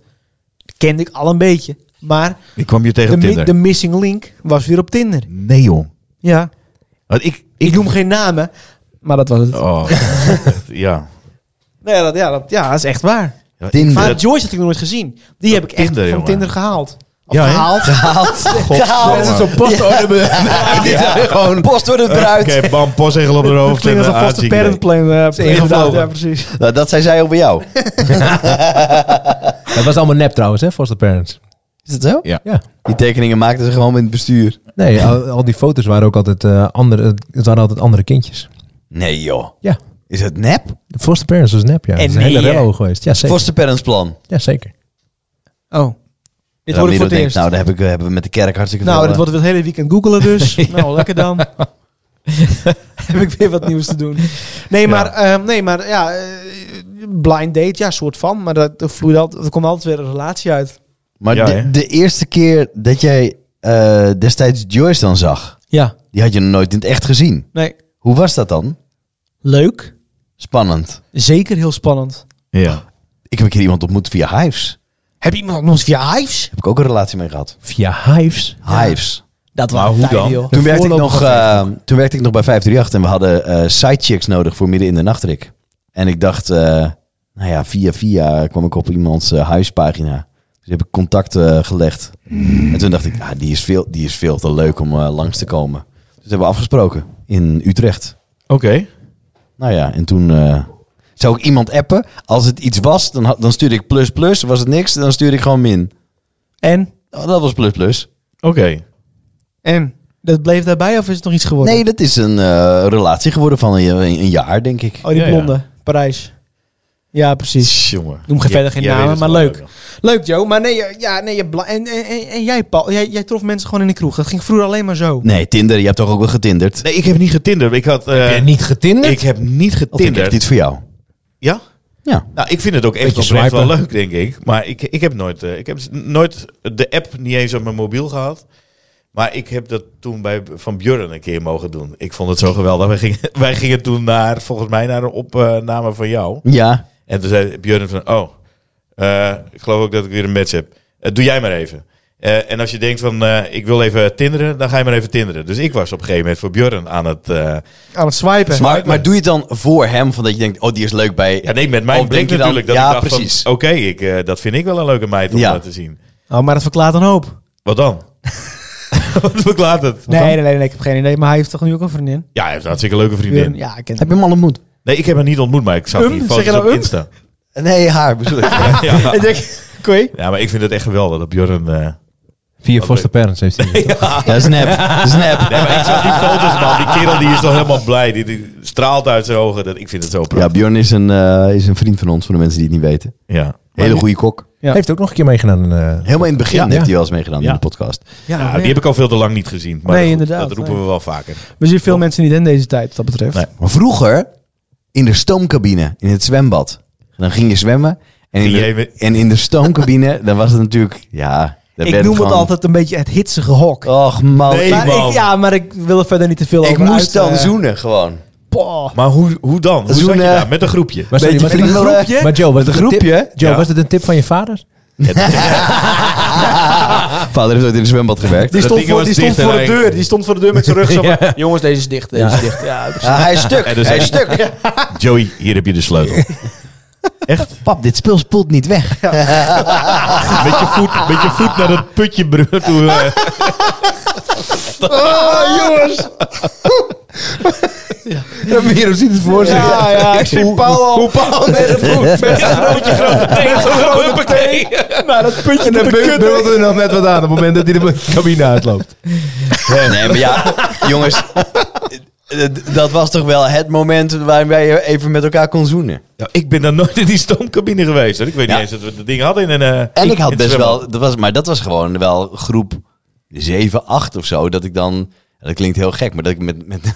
S3: die kende ik al een beetje. Maar
S4: Ik kwam je tegen
S3: de,
S4: op
S3: mi-
S4: Tinder.
S3: de missing link was weer op Tinder.
S4: Nee, joh.
S3: Ja,
S4: Want ik...
S3: ik, noem geen namen, maar dat was het.
S4: Oh, ja.
S3: Nee, dat, ja, dat, ja, dat is echt waar.
S4: Ja, ik
S1: Tinder.
S3: Maar
S4: vind
S3: Joyce had ik nog nooit gezien. Die heb ik echt
S4: Tinder,
S3: van
S4: jongen.
S3: Tinder gehaald. Of
S4: Ja, hè?
S3: gehaald.
S1: Gehaald. Gehaald.
S4: dat-
S2: post
S1: Gewoon post door de bruid.
S4: Oké, bam, postzegel op de
S3: Dat
S4: hoofd.
S3: klinkt als
S4: en,
S3: een
S4: eh,
S3: vaste
S4: uitzien idee.
S3: parent plan. eh,
S4: ingevlogen.
S3: ja, precies.
S1: Nou, dat zei zij over jou.
S2: Dat was allemaal nep trouwens, hè, foster parents.
S1: Is dat zo?
S4: Ja.
S2: Ja.
S1: Die tekeningen maakten ze gewoon in het bestuur.
S2: Nee, al, al die foto's waren ook altijd, eh, andere, het waren altijd andere kindjes.
S1: Nee joh.
S2: Ja.
S1: Is het nep?
S2: De foster parents was nep, ja.
S3: En
S2: dat is een hele
S3: nee,
S2: rello geweest. Ja, zeker.
S1: Foster parents plan.
S2: Ja, zeker.
S3: Oh, dit
S1: Ramiro
S3: hoor ik voor het
S1: denkt,
S3: eerst.
S1: Nou, daar heb ik, hebben we met de kerk hartstikke
S3: Nou,
S1: veel,
S3: dat
S1: eh,
S3: wordt het hele weekend googelen dus. Nou, lekker dan. Heb ik weer wat nieuws te doen. Nee, maar ja, nee, maar, ja eh, blind date, ja, soort van. Maar dat, dat vloeit altijd, er komt altijd weer een relatie uit.
S1: Maar
S4: Ja,
S1: de,
S4: hè?
S1: de eerste keer dat jij eh, destijds Joyce dan zag,
S3: Ja.
S1: die had je nog nooit in het echt gezien.
S3: Nee,
S1: Hoe was dat dan?
S3: leuk.
S1: Spannend.
S3: Zeker heel spannend.
S4: Ja.
S1: Ik heb een keer iemand ontmoet via Hives.
S3: Heb je iemand ontmoet via Hives?
S1: Heb ik ook een relatie mee gehad.
S2: Via Hives.
S1: Hives.
S3: Dat
S4: Maar
S3: was
S4: Nou, hoe dan?
S1: Toen werkte, ik
S3: voorloper
S1: nog,
S3: van
S1: eh, toen werkte ik nog bij 538 en we hadden eh sidechicks nodig voor midden in de nachtrik. En ik dacht, eh, nou ja, via via kwam ik op iemands eh, huispagina. Dus heb ik contact eh, gelegd. En toen dacht ik, ah, die, is veel, die is veel te leuk om eh, langs te komen. Dus hebben we afgesproken in Utrecht.
S4: Oké.
S1: Nou ja, en toen eh, zou ik iemand appen. Als het iets was, dan, had- dan stuurde ik plus plus. Was het niks, dan stuurde ik gewoon min.
S3: En?
S1: Oh, dat was plus plus.
S4: Oké.
S3: En? Dat bleef daarbij of is het nog iets geworden?
S1: Nee, dat is een eh, relatie geworden van een, een, een jaar, denk ik.
S3: Oh, die
S4: Ja, ja.
S3: blonde. Parijs. Ja, precies.
S4: Jongen.
S3: Noem geen
S4: Ja,
S3: verder geen
S4: jij weet
S3: namen,
S4: het
S3: maar
S4: wel,
S3: leuk.
S4: joh.
S3: Leuk, Joe. Maar nee, eh, ja, ja, nee je bla- en, en, en- en jij, Paul, jij, jij trof mensen gewoon in de kroeg. Dat ging vroeger alleen maar zo.
S1: Nee, Tinder. Je hebt toch ook wel getinderd?
S4: Nee, ik heb niet getinderd. Ik had... eh,
S2: Heb je niet getinderd?
S4: ik heb niet
S1: Dat vind ik
S4: getinderd.
S1: echt iets voor jou.
S4: Ja?
S1: Ja.
S4: Nou, ik vind het ook echt
S2: Beetje
S4: oprecht wel
S2: swipen.
S4: leuk, denk ik. Maar ik, ik heb nooit, eh, ik heb nooit de app niet eens op mijn mobiel gehad. Maar ik heb dat toen bij Van Björn een keer mogen doen. Ik vond het zo geweldig. Wij gingen, wij gingen toen naar, volgens mij naar een opname van jou.
S1: Ja.
S4: En toen zei Björn van, oh, eh, ik geloof ook dat ik weer een match heb. Eh, doe jij maar even. Eh, en als je denkt van, eh, ik wil even tinderen, dan ga je maar even tinderen. Dus ik was op een gegeven moment voor Björn aan het... eh,
S3: Aan het swipen.
S1: Maar, maar doe je het dan voor hem, van dat je denkt, oh, die is leuk bij...
S4: ja, nee, met mijn
S1: Of
S4: blik
S1: denk je dan-
S4: natuurlijk. dat
S1: ja,
S4: ik dacht van,
S1: precies.
S4: Oké, ik, eh, dat vind ik wel een leuke meid om
S1: Ja.
S4: dat te zien.
S3: Oh, maar dat verklaart een hoop.
S4: Wat dan? Wat verklaart het?
S3: Nee, nee, nee, nee, ik heb geen idee. Maar hij heeft toch nu ook een vriendin?
S4: Ja, hij heeft een hartstikke leuke vriendin.
S3: Ja, ik ken
S1: Heb je hem al ontmoet?
S4: Nee, ik heb hem niet ontmoet, maar ik zag
S3: Um,
S4: die
S3: zeg
S4: foto's
S3: je nou
S4: op
S3: um?
S4: Insta.
S1: Nee, haar bedoel ik.
S4: Ja.
S3: Ik denk, koei.
S4: ja, maar ik vind het echt geweldig dat Björn... eh,
S2: Via foster parents heeft hij het.
S1: Ja, snap. Snap.
S4: Nee, maar ik zag die foto's, man. Die kerel die is toch helemaal blij. Die, die straalt uit zijn ogen. Dat, ik vind het zo
S1: Ja,
S4: prachtig.
S1: Björn is een, eh, is een vriend van ons, voor de mensen die het niet weten.
S4: Ja.
S1: Hele goede kok.
S3: Ja.
S2: Heeft ook nog een keer meegedaan. eh,
S1: Helemaal in het begin
S2: Ja,
S1: heeft
S2: ja.
S1: hij wel eens meegedaan
S4: Ja.
S1: in de podcast.
S3: Ja,
S4: Ja,
S3: nee.
S4: die heb ik al veel te lang niet gezien. Maar
S3: Nee,
S4: goed,
S3: inderdaad,
S4: dat roepen
S3: nee.
S4: we wel vaker.
S3: We zien veel mensen niet in deze tijd, wat dat betreft.
S4: Nee.
S1: Maar vroeger, in de stoomcabine, in het zwembad. Dan ging je zwemmen. En in
S4: Ging
S1: de,
S4: je even-
S1: en in de stoomcabine, dan was het natuurlijk... Ja, daar werd
S3: Ik noem het
S1: gewoon-
S3: altijd een beetje het hitsige hok.
S1: Och man,
S4: Nee,
S1: ik,
S3: maar
S4: man.
S3: ik, ja, maar ik wil er verder niet te veel
S1: ik
S3: over
S1: moest
S3: uit,
S1: dan
S3: eh,
S1: zoenen gewoon.
S3: poh.
S4: Maar hoe, hoe dan? Hoe zat
S1: Zo'n,
S4: je
S1: eh,
S4: daar? Met een groepje.
S2: maar sorry,
S1: Beetje
S2: maar-
S1: vriendelijk.
S2: Maar Joe, was
S1: Met
S2: het
S1: een
S2: een tip?
S1: groepje.
S2: Joe,
S4: Ja.
S2: was het een tip van je vader?
S1: Vader heeft ooit in een zwembad gewerkt.
S3: Die
S4: Dat
S3: stond,
S4: ding
S3: voor,
S4: was
S3: die stond
S4: dicht en
S3: voor de
S4: hij-
S3: deur. Die stond voor de deur met zijn rug. zo van, Jongens, deze is dicht. Deze is dicht. Ja,
S1: Ja, hij is stuk.
S4: En dus-
S1: hij is stuk.
S4: Joey, hier heb je de sleutel.
S1: Pap, dit spul spoelt niet weg.
S4: Met je voet, met je voet naar dat putje broer, toe. eh.
S1: Oh, Ramiro ziet het voor
S3: Ja, ja, ik zie Paul al. Paul met een voet, met een grootje grote teen. Zo'n grote teen.
S4: eh.
S3: Nou, dat puntje naar de kut.
S2: er nog net wat aan op het moment dat hij de cabine uitloopt.
S1: Nee, maar ja, jongens. d- dat was toch wel het moment waarbij je even met elkaar kon zoenen.
S4: Ja, Nou, ik ben dan nooit in die stoomcabine geweest. hoor. Ik weet
S1: Ja.
S4: niet eens dat we dat ding hadden in een... eh,
S1: En ik,
S4: in
S1: had
S4: het
S1: best
S4: zwembad.
S1: wel, dat was, maar dat was gewoon wel groep 7, 8 of zo. Dat ik dan, dat klinkt heel gek, maar dat ik met, met,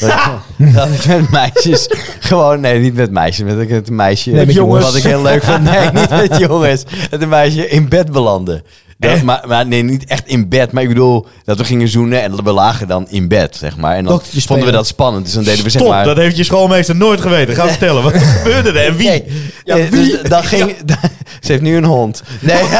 S1: dat, dat ik met meisjes gewoon, nee, niet met meisjes, met ik het meisje,
S2: Nee, met jongens.
S1: wat ik heel leuk vond, nee, niet met jongens, met een meisje in bed belanden. Dat,
S4: Echt?
S1: maar, maar nee, niet echt in bed, maar ik bedoel dat we gingen zoenen en we lagen dan in bed, zeg maar. En dan
S3: Doktertje
S1: vonden we
S3: spelen.
S1: dat spannend, dus dan deden we zeg
S4: Top,
S1: maar...
S4: dat heeft je schoolmeester nooit geweten. Ga vertellen, wat gebeurde er en wie?
S1: Nee. Ja, Dus dan ging, ze heeft nu een hond. Nee.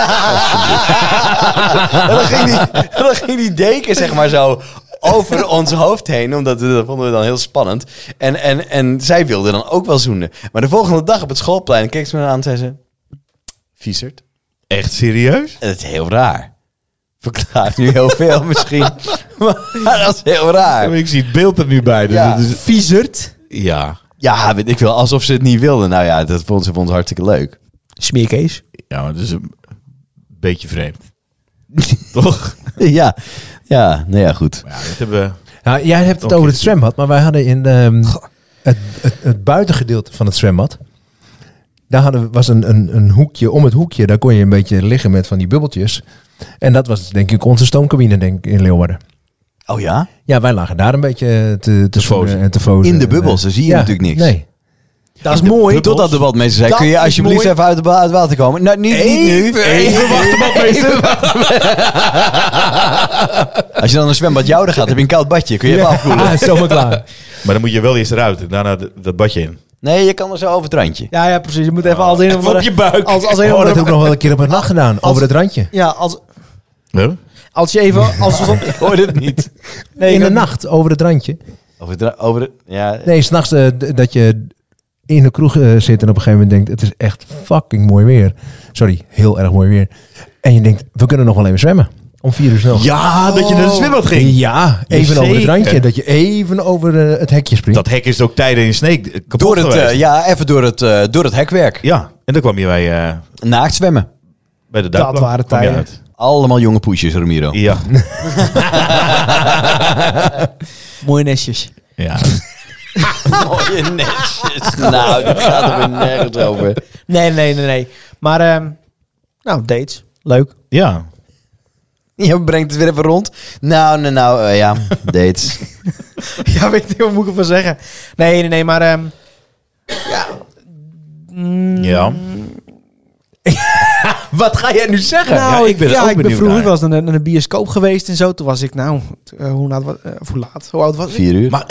S1: En dan, ging die, dan ging die deken zeg maar zo over ons hoofd heen. Omdat we, dat vonden we dan heel spannend. En, en, en zij wilde dan ook wel zoenen. Maar de volgende dag op het schoolplein keek ze me aan en zei ze... Viezerd.
S4: Echt serieus?
S1: Dat is heel raar. Verklaart nu heel veel misschien. Maar dat is heel
S4: Ja, maar
S1: raar.
S4: Ik zie het beeld er nu bij. Dus
S1: Ja.
S4: ja. Is,
S3: Viezerd.
S4: ja.
S1: Ja, weet ik wel. Alsof ze het niet wilde. Nou ja, dat vond ze vond het hartstikke leuk.
S3: Smeerkees.
S4: ja, maar het is een beetje vreemd. Toch?
S1: Ja, ja nou ja, goed.
S4: Maar ja, dat hebben we...
S2: Nou, jij hebt het
S4: Oké.
S2: over het zwembad, maar wij hadden in ehm, het, het, het buitengedeelte van het zwembad. Daar hadden, we- was een, een, een hoekje, om het hoekje, daar kon je een beetje liggen met van die bubbeltjes. En dat was denk ik onze stoomcabine denk ik, in Leeuwarden.
S1: Oh ja?
S2: Ja, wij lagen daar een beetje te, te
S4: fozen.
S2: zoenen en te fozen.
S1: In de bubbels, dan zie je
S2: Ja,
S1: natuurlijk niks.
S2: Nee.
S3: Dat is mooi.
S1: Totdat er wat mensen zeiden,
S3: Dat
S1: kun je
S3: is
S1: alsjeblieft
S3: mooi.
S1: even uit, de ba- uit het water komen? Nou, niet, niet nu.
S4: Even wachten, badmeester.
S1: Als je dan een zwembad Jouwen gaat, heb je een koud badje. Kun je even afkoelen?
S2: Ah, zo maar klaar.
S4: Maar dan moet je wel eerst eruit en daarna de- dat badje in.
S1: Nee, je kan er zo over het randje.
S3: Ja, ja, precies. Je moet even als een of
S4: Even op
S3: andere...
S4: je buik.
S3: Als, als een of
S2: Oh, dat heb ik
S3: andere...
S2: nog wel een keer op een nacht gedaan, over het randje.
S3: Ja, als,
S4: Huh?
S3: als je even... Als,
S1: Ik hoor het niet.
S3: nee,
S2: in de
S3: ik-
S2: nacht, over het randje.
S1: Over het ra- over het- ja.
S2: Nee, s'nachts eh, d- dat je in de kroeg eh, zit en op een gegeven moment denkt... het is echt fucking mooi weer. Sorry, heel erg mooi weer. En je denkt, we kunnen nog wel even zwemmen. Om vier uur snel.
S4: Ja, dat je naar de
S1: Oh.
S4: zwembad ging.
S2: Ja, even
S4: Jazeker.
S2: over het randje. Dat je even over eh, het hekje springt.
S4: Dat hek is ook tijden in Sneek eh, kapot
S1: Door het,
S4: geweest.
S1: eh, ja, even door het, eh, door het hekwerk.
S4: Ja, en dan kwam je bij, eh,
S1: Naakt zwemmen.
S4: bij de duikplank.
S3: waren
S4: Kwam je
S3: tijden.
S4: uit.
S1: Allemaal jonge poesjes, Ramiro.
S4: Ja.
S3: Mooie nestjes.
S4: ja.
S1: Mooie netjes. Nou, dit gaat er weer nergens over.
S3: Nee, nee, nee, nee. Maar, ehm, nou, dates. Leuk.
S4: Ja.
S1: Je brengt het weer even rond. Nou, nou, nou, eh, ja, dates.
S3: ja, weet ik, wat moet ik ervan zeggen? Nee, nee, nee, maar... ehm, ja. Mm,
S4: Ja.
S2: Wat ga jij nu zeggen?
S3: Nou, ik,
S4: Ja, ik ben er
S3: ja,
S4: ook
S3: ik ben
S4: benieuwd
S3: vroeger
S4: naar.
S3: wel eens naar, een- naar een bioscoop geweest en zo. Toen was ik, nou, t- eh, hoe, laat, wa- eh, of hoe laat? Hoe oud was ik?
S1: Vier uur.
S4: Maar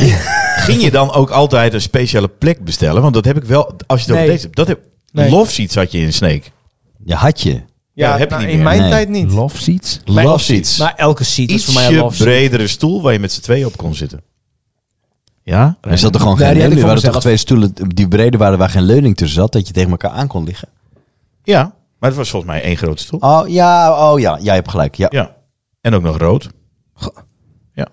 S4: ging je dan ook altijd een speciale plek bestellen? Want dat heb ik wel, als je het
S3: Nee.
S4: over deze hebt. Dat heb,
S3: Nee.
S4: Love Seats had je in Sneek.
S1: Je had je.
S4: Ja, dat heb je
S3: nou,
S4: niet
S3: in
S4: meer.
S3: mijn
S1: Nee.
S3: tijd niet.
S2: Love seats?
S1: Love seats.
S3: Maar elke seat is voor mij een
S4: Ietsje
S3: love seat.
S4: bredere stoel waar je met z'n tweeën op kon zitten. Ja?
S1: Er zat er gewoon
S2: Nee,
S1: geen
S2: die had ik
S1: leuning. Er
S2: voor
S1: waren toch
S2: mezelf.
S1: twee stoelen die breder waren waar geen leuning tussen zat, dat je tegen elkaar aan kon liggen.
S4: Ja, maar het was volgens mij één grote stoel.
S1: Oh ja, oh ja, jij hebt gelijk. Ja.
S4: Ja. En ook nog rood. Ja.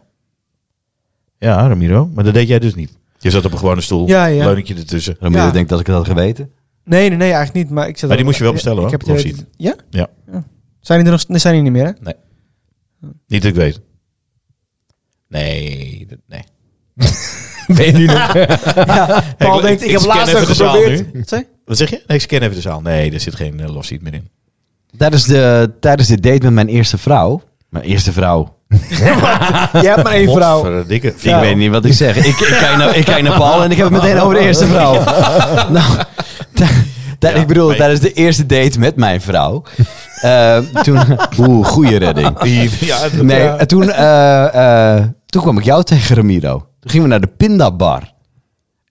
S4: Ja, Ramiro. Maar dat deed jij dus niet. Je zat op een gewone stoel.
S3: Ja, ja.
S4: Leuningje ertussen.
S1: Ramiro
S3: Ja.
S1: denkt dat ik het had geweten.
S3: Nee, nee, nee, eigenlijk niet. Maar, ik zat
S4: Maar die
S3: ook-
S4: moest je wel bestellen,
S3: ik
S4: hoor,
S3: heb het
S4: love
S3: idee-
S4: seat.
S3: Ja?
S4: Ja.
S3: Zijn die er nog nee, zijn die niet meer, hè?
S4: Niet dat ik weet. Nee. dat- nee.
S2: Ben je nu nog?
S3: Paul
S4: ik-
S3: denkt, Oh,
S4: ik
S3: ik, heb
S4: scan
S3: laatst
S4: even
S3: even
S4: de zaal
S3: geprobeerd. Wat zei je?
S4: Wat zeg je? Nee, ik scan even de zaal. Nee, er zit geen eh, love seat meer in.
S1: Tijdens, de, tijdens dit date met mijn eerste vrouw. Mijn eerste vrouw.
S3: Je hebt maar één vrouw.
S4: Dikke
S1: Ik weet niet wat ik zeg. Ik, ik, kijk naar, ik kijk naar Paul en ik heb het meteen over de eerste vrouw. Nou, t- t-
S4: Ja,
S1: ik bedoel,
S4: maar-
S1: tijdens de eerste date met mijn vrouw. eh, toen, oeh, goede redding.
S4: Ja, dat-
S1: Nee,
S4: ja.
S1: en toen, eh, eh, toen kwam ik jou tegen, Ramiro. Toen gingen we naar de Pindabar.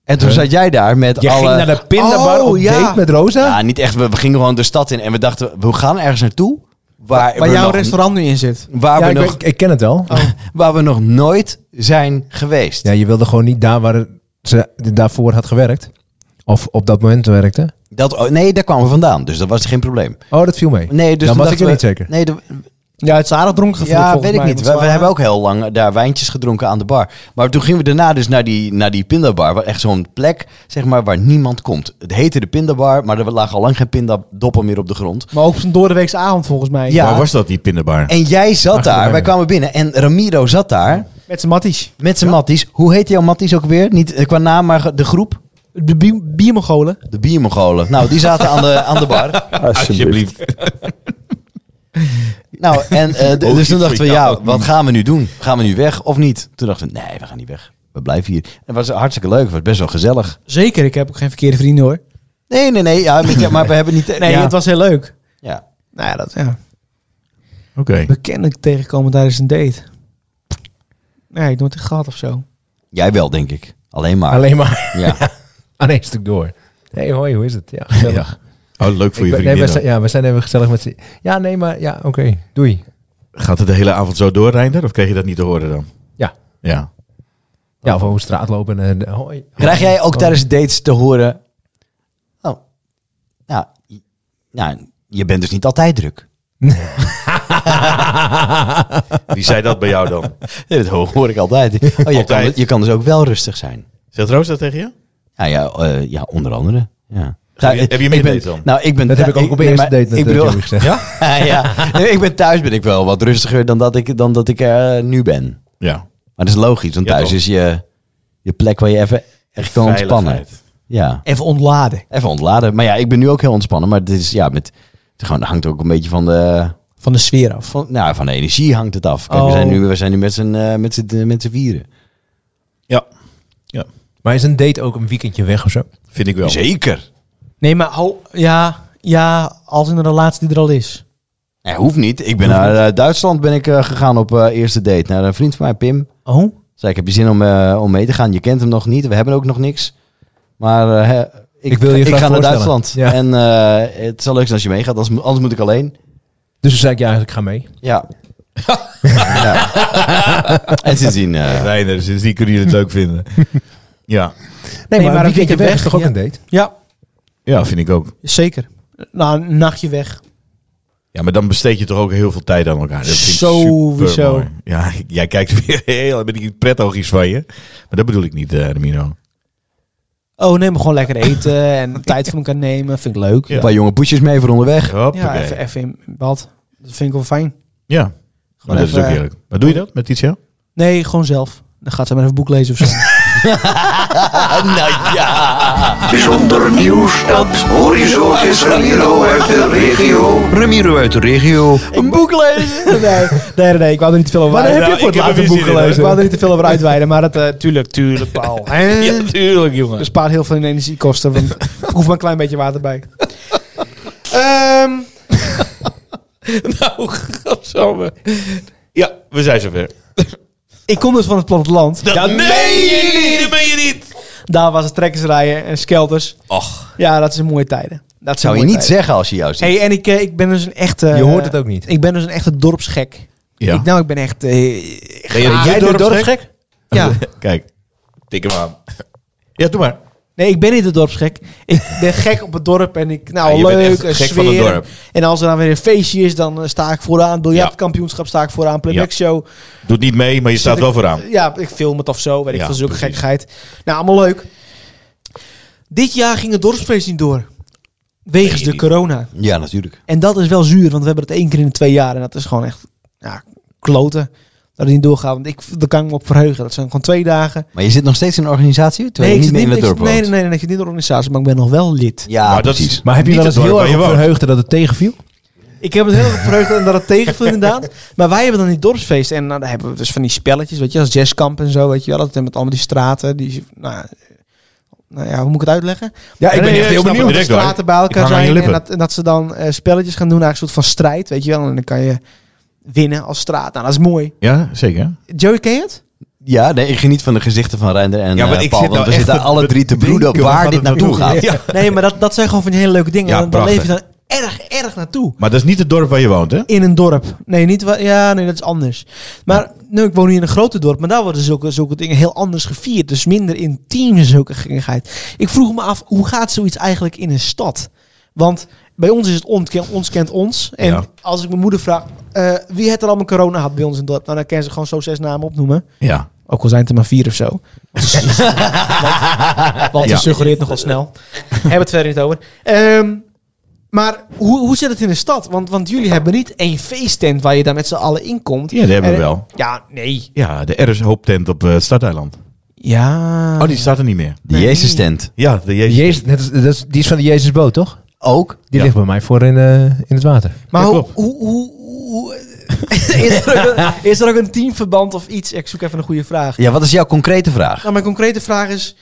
S1: En toen zat jij daar met
S2: Je
S1: alle...
S2: ging naar de pindabar
S1: Oh,
S2: op
S1: ja.
S2: date met Rosa?
S1: Ja, niet echt. We, we gingen gewoon de stad in en we dachten, we gaan ergens naartoe. Waar,
S3: Waar
S1: we
S3: jouw
S1: nog-
S3: restaurant nu in zit.
S1: Waar,
S2: Ja,
S1: we
S2: ik,
S1: nog,
S2: ben- ik ken het wel.
S1: waar we nog nooit zijn geweest.
S2: Ja, je wilde gewoon niet daar waar ze daarvoor had gewerkt. Of op dat moment werkte.
S1: Dat, oh, nee, daar kwamen we vandaan. Dus dat was geen probleem.
S2: Oh, dat viel mee.
S1: Nee, dus
S2: Dan
S1: toen
S2: was
S1: dachten
S2: ik er
S1: we-
S2: niet zeker.
S1: Nee, de-
S3: Ja, het is aardig dronken gevoel
S1: ja,
S3: volgens
S1: weet ik
S3: mij,
S1: niet.
S3: want
S1: We,
S3: ze
S1: we
S3: waren-
S1: hebben ook heel lang daar wijntjes gedronken aan de bar. Maar toen gingen we daarna dus naar die, naar die pindabar. Waar echt zo'n plek, zeg maar, waar niemand komt. Het heette de pindabar, maar er lagen al lang geen pindadoppen meer op de grond.
S3: Maar ook op zo'n doordeweekse avond volgens mij.
S1: Ja.
S4: Waar was dat, die pinderbar?
S1: En jij zat
S2: Achter de
S1: daar, wij
S2: bar.
S1: kwamen binnen en Ramiro zat daar.
S3: Met z'n matties.
S1: Met zijn matties. Hoe heet jouw matties ook weer? Niet eh, qua naam, maar ge- de groep?
S3: De bi- biermogolen.
S1: De biermogolen. Nou, die zaten aan de, aan de bar.
S4: Alsjeblieft.
S1: Nou, en, eh, d- dus
S4: Oh,
S1: toen
S4: iets
S1: dachten we,
S4: voor jou.
S1: ja, wat gaan we nu doen? Gaan we nu weg of niet? Toen dachten we, nee, we gaan niet weg. We blijven hier. En het was hartstikke leuk. Het was best wel gezellig.
S3: Zeker, ik heb ook geen verkeerde vrienden hoor.
S1: Nee, nee, nee. Ja, met jou, maar we hebben niet...
S3: Nee,
S1: ja.
S3: het was heel leuk.
S1: Ja.
S3: Nou ja, dat ja.
S4: Oké.
S3: Bekendelijk tegenkomen tijdens een date. Nee, ik nooit echt gehad of zo.
S1: Jij wel, denk ik. Alleen maar.
S2: Alleen maar
S1: Ja.
S2: aan één stuk door. Hé, hey, Nou. hoi, hoe is het? Ja, gezellig.
S4: Ja. Oh, leuk voor
S2: Ik
S4: je
S2: ben- nee, we
S4: vriendin.
S2: zijn, ja, we zijn even gezellig met z'n... Ja, nee, maar ja, oké. Doei.
S4: Gaat het de hele avond zo door, Reinder? Of kreeg je dat niet te horen dan?
S2: Ja.
S4: Ja.
S2: Ja, of over de straat lopen en... eh, hoi.
S1: Krijg jij ook
S2: Oh.
S1: tijdens dates te horen... Oh, nou, j- nou, je bent dus niet altijd druk.
S4: Wie zei dat bij jou dan?
S1: Ja, dat ho- hoor ik altijd. Oh, je,
S4: Altijd.
S1: Kan, je kan dus ook wel rustig zijn.
S4: Zegt Roos dat tegen je?
S1: Ja, ja, eh, ja onder andere. Ja.
S4: Heb je- heb je
S1: ik
S4: minder
S1: ben-
S4: dates dan?
S1: Nou, ik ben
S2: Dat heb ik ook op de eerste
S1: maar
S2: date met
S1: ik
S2: eh,
S1: bedoel,
S2: Joey gezegd. Ja?
S1: ja, ja. Nee, ik ben thuis ben ik wel wat rustiger dan dat ik, dan dat ik eh, nu ben.
S4: Ja.
S1: Maar dat is logisch, want
S4: Ja,
S1: thuis
S4: toch?
S1: is je, je plek waar je even echt kan ontspannen.
S4: Veiligheid.
S1: Ja,
S3: Even ontladen
S1: even ontladen. Maar ja, ik ben nu ook heel ontspannen. Maar dit is, ja, met, het gewoon, hangt ook een beetje van de,
S3: van de sfeer af.
S1: van, nou, van de energie hangt het af. Kijk, we,
S3: Oh.
S1: zijn nu, we zijn nu met z'n eh, met z'n- met z'n vieren.
S4: Ja,
S2: Maar is een date ook een weekendje weg of zo?
S4: vind ik wel.
S1: Zeker.
S3: Nee, maar hou, ja, ja, als in een relatie die er al is.
S1: Ja, hoeft niet. Ik ben naar eh, Duitsland ben ik, eh, gegaan op eh, eerste date. Naar een vriend van mij, Pim.
S3: Oh?
S1: Zei ik, heb je zin om, eh, om mee te gaan? Je kent hem nog niet. We hebben ook nog niks. Maar eh, hè, ik,
S2: Ik wil je
S1: ik
S2: graag
S1: ga naar
S2: voorstellen.
S1: Duitsland.
S2: Ja.
S1: En eh, het zal leuk zijn als je meegaat. Anders, mo- anders moet ik alleen.
S2: Dus toen zei ik, ja, ik ga mee.
S1: Ja. ja. En sindsdien... eh,
S4: Reinder, dus die kunnen jullie het leuk vinden. ja.
S2: Nee,
S3: maar een weekendje weg
S2: is toch ook
S3: ja.
S2: een date?
S3: Ja,
S4: ja, vind ik ook.
S3: zeker. Nou, een nachtje weg.
S4: Ja, maar dan besteed je toch ook heel veel tijd aan elkaar. Dat vind ik
S3: Sowieso.
S4: supermooi. Ja, jij kijkt weer heel met die pretoogjes van je. Maar dat bedoel ik niet, eh Ramiro.
S3: Oh, nee, maar gewoon lekker eten en tijd voor elkaar nemen. Vind ik leuk.
S4: Ja.
S1: Een paar jonge poesjes mee voor onderweg.
S4: Hoppakee.
S3: Ja, even, even in bad. Dat vind ik wel fijn.
S4: Ja, maar
S3: Gewoon
S4: dat is
S3: even,
S4: ook
S3: eh,
S4: heerlijk. Maar doe je dat met iets, ja?
S3: Nee, gewoon zelf. Dan gaat ze maar even een boek lezen of zo.
S1: nou ja.
S6: Bijzonder nieuws, dat hoor je zo, Het is Ramiro uit de regio.
S1: Ramiro uit de regio.
S3: een boek lezen? Nee, nee, nee. Ik wou er niet te veel over
S4: Maar dan
S3: uitweiden.
S4: heb je voor het
S3: Ik heb
S4: laatst een
S3: er
S4: boek
S3: zin in, hoor.
S4: gelezen.
S3: Ik wou er niet te veel over uitweiden, maar dat... eh, tuurlijk, tuurlijk, Paul. ja,
S4: tuurlijk, jongen.
S3: bespaart heel veel in energiekosten, want ik hoef maar een klein beetje water bij. Ehm,
S4: Nou, godsamme. Ja, we zijn zover.
S3: ik kom dus van het platteland.
S4: Dat meen je niet, dat meen je niet.
S3: Daar was het trekkersrijden en skelters.
S4: Och,
S3: Ja, dat zijn mooie tijden. Dat zijn
S1: Zou je
S3: mooie
S1: niet
S3: tijden.
S1: zeggen als je jou ziet.
S3: Hey, en ik, eh, ik ben dus een echte...
S2: Je hoort
S3: eh,
S2: het ook niet.
S3: Ik ben dus een echte dorpsgek.
S4: Ja.
S3: Ik, nou, ik ben echt... eh,
S4: ben je dat
S1: jij bent
S4: dorpsgek?
S3: ja.
S4: Kijk, tik hem aan. Ja, doe maar.
S3: Nee, ik ben niet de dorpsgek. Ik ben gek op het dorp en ik, nou,
S4: Ja, Ah, je bent
S3: leuk,
S4: echt
S3: een
S4: gek
S3: sfeer.
S4: van het dorp.
S3: En als er dan weer een feestje is, dan eh, sta ik vooraan. Biljartkampioenschap sta ik vooraan. Playback show.
S4: Doet niet mee, maar je staat wel vooraan.
S3: Ja, ik film het of zo. Weet ik
S4: Ja,
S3: veel, zulke
S4: precies.
S3: gekkigheid. Nou, allemaal leuk. Dit jaar ging het dorpsfeest niet door. Wegens
S4: Nee,
S3: de
S4: niet.
S3: corona.
S1: Ja, natuurlijk.
S3: En dat is wel zuur, want we hebben het één keer in de twee jaar. En dat is gewoon echt ja, kloten. Dat het niet doorgaat. Want ik, daar kan ik me op verheugen. Dat zijn gewoon twee dagen.
S1: Maar je zit nog steeds in een organisatie? Terwijl
S3: ik
S1: je
S3: zit
S1: niet meer in het
S3: ik zit-
S1: dorp
S3: nee,
S1: woont?
S3: nee, nee, nee, ik zit niet in de organisatie, maar ik ben nog wel lid.
S1: Ja,
S4: Maar dat
S1: precies.
S4: is-
S2: Maar heb je
S4: Niet
S2: wel eens
S4: het
S2: heel
S4: dorp
S2: erg
S4: waar
S2: op
S4: je woont.
S2: verheugde dat het tegenviel?
S3: Ik heb het heel erg verheugd en dat het tegenviel inderdaad. Maar wij hebben dan die dorpsfeest. En nou, daar hebben we dus van die spelletjes, weet je, als jazzkamp en zo, weet je wel. Dat met allemaal die straten. Die, nou, nou ja, hoe moet ik het uitleggen?
S2: Ja, ik
S3: Nee,
S2: ben
S3: nee,
S2: echt
S3: ik
S2: heel benieuwd.
S4: snap het
S3: Dat de
S4: direct, hoor.
S3: straten bij
S4: Ik hang
S3: elkaar
S4: aan je
S3: zijn. En
S4: lippen.
S3: dat, en dat ze dan eh, spelletjes gaan doen, eigenlijk een soort van strijd, weet je wel. En dan kan je winnen als straat. Nou, dat is mooi.
S4: Ja, zeker.
S3: Joey, ken je het?
S1: Ja, nee, ik geniet van de gezichten van Reinder en
S4: Ja, maar
S1: eh,
S4: ik
S1: Paul.
S4: zit nou
S1: Want we
S4: echt
S1: zitten
S4: te
S1: alle drie te broeden op
S4: bedenken waar
S1: waar
S4: gaat
S1: dit
S4: het
S1: naartoe
S4: naartoe?
S1: gaat.
S3: Nee, maar dat, dat zijn gewoon van die hele leuke dingen.
S4: Ja,
S3: dan, dan leef je
S4: prachtig.
S3: dan erg, erg naartoe.
S4: Maar dat is niet het dorp waar je woont, hè?
S3: In een dorp. Nee, niet wa- ja, nee, dat is anders. Maar nu, ik woon hier in een grote dorp, maar daar worden zulke, zulke dingen heel anders gevierd. Dus minder intiem en zulke gekkigheid. Ik vroeg me af, hoe gaat zoiets eigenlijk in een stad? Want bij ons is het ontken, ons kent ons. En
S4: Ja.
S3: als ik mijn moeder vraag, eh, wie het er allemaal corona had bij ons in het dorp? Nou, dan kan ze gewoon zo zes namen opnoemen.
S4: Ja.
S3: Ook al zijn het er maar vier of zo. Want, want ze
S4: Ja.
S3: suggereert nogal snel. Hebben we het verder niet over. Ehm, Maar hoe, hoe zit het in de stad? Want, want jullie hebben niet één feesttent waar je daar met z'n allen in komt.
S4: Ja, die hebben we
S3: En-
S4: wel.
S3: Ja, nee.
S4: Ja, de RS Hoop tent op eh, het Stadeiland.
S3: Ja.
S4: Oh, die staat er niet meer.
S1: De Jezus tent.
S4: Ja, de Jezus.
S2: Jezus, net als- dat is- die is van de Jezusboot, toch? Ook? Die
S4: Ja.
S2: ligt bij mij voor in, eh, in het water.
S3: maar
S4: Ja,
S3: hoe,
S4: klopt.
S3: hoe, hoe, hoe- is, er ook een, is er ook een teamverband of iets? Ik zoek even een goede vraag.
S1: Ja, wat is jouw concrete vraag?
S3: Nou, mijn concrete vraag is...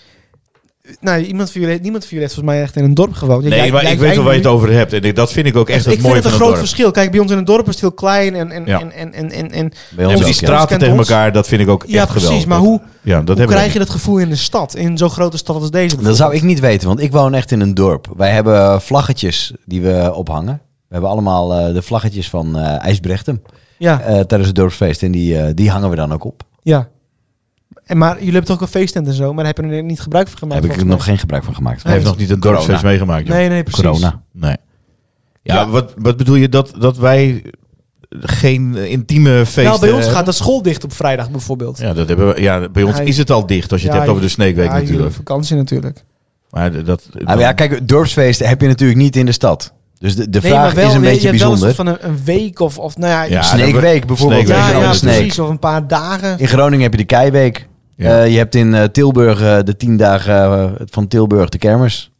S3: Nou, iemand van jullie, niemand van jullie heeft volgens mij echt in een dorp gewoond. Ja,
S4: Nee,
S3: jij-
S4: maar
S3: jij-
S4: ik weet
S3: jij
S4: wel waar je
S3: nu.
S4: het over hebt. En ik- dat vind ik ook echt het
S3: ik vind
S4: mooie
S3: het een
S4: van het
S3: groot
S4: dorp.
S3: verschil. Kijk, bij ons in het dorp is het heel klein en, en,
S4: Ja.
S3: en, en, en, en, en
S1: Bij
S4: En
S1: ons
S4: met
S1: ook,
S4: die
S1: ja.
S4: straten
S3: Kent
S4: tegen
S3: ons.
S4: elkaar, dat vind ik ook
S3: Ja,
S4: echt geweldig.
S3: precies. Maar
S4: Dat-
S3: hoe,
S4: ja, dat
S3: hoe
S4: hebben we
S3: krijg je dat gevoel in de stad? In zo'n grote stad als deze?
S1: Dat zou ik niet weten, want ik woon echt in een dorp. Wij hebben vlaggetjes die we ophangen. We hebben allemaal eh, de vlaggetjes van eh IJsbrechtem
S3: Ja,
S1: eh, tijdens het dorpsfeest. En die, eh, die hangen we dan ook op.
S3: ja. En, maar jullie hebben toch ook een feesttent en zo, maar daar hebben jullie niet gebruik van
S1: Daar
S3: gemaakt?
S1: heb ik er
S3: volgens
S1: nog geen gebruik van gemaakt.
S4: Hij heeft nog niet een
S1: Corona.
S4: dorpsfeest meegemaakt. joh.
S3: mij. Nee, nee, precies.
S1: Corona.
S4: Nee. Ja, Wat, wat bedoel je? Dat, dat wij geen eh, intieme feesten...
S3: Nou, bij ons
S4: eh,
S3: gaat de school dicht op vrijdag bijvoorbeeld.
S4: Ja, dat hebben we, ja, bij ons
S3: Ja,
S4: is het al dicht als je
S3: ja,
S4: het hebt over de Sneekweek
S3: Ja, jullie
S4: natuurlijk.
S3: op vakantie natuurlijk.
S4: Maar d- dat...
S1: Ah, maar ja, kijk, het dorpsfeest heb je natuurlijk niet in de stad. Dus de, de vraag is een
S3: je-
S1: beetje
S3: je hebt wel
S1: bijzonder.
S3: een soort van een, een week of, of nou ja,
S4: Ja,
S3: iets-
S1: Sneekweek bijvoorbeeld.
S4: Sneekweek.
S1: weet
S3: ja,
S1: je wel,
S3: ja,
S1: de Sneek.
S3: precies, of een paar dagen.
S1: In Groningen heb je de Keiweek.
S4: Ja.
S1: Eh, je hebt in eh, Tilburg eh, de tien dagen eh, van Tilburg de kermers.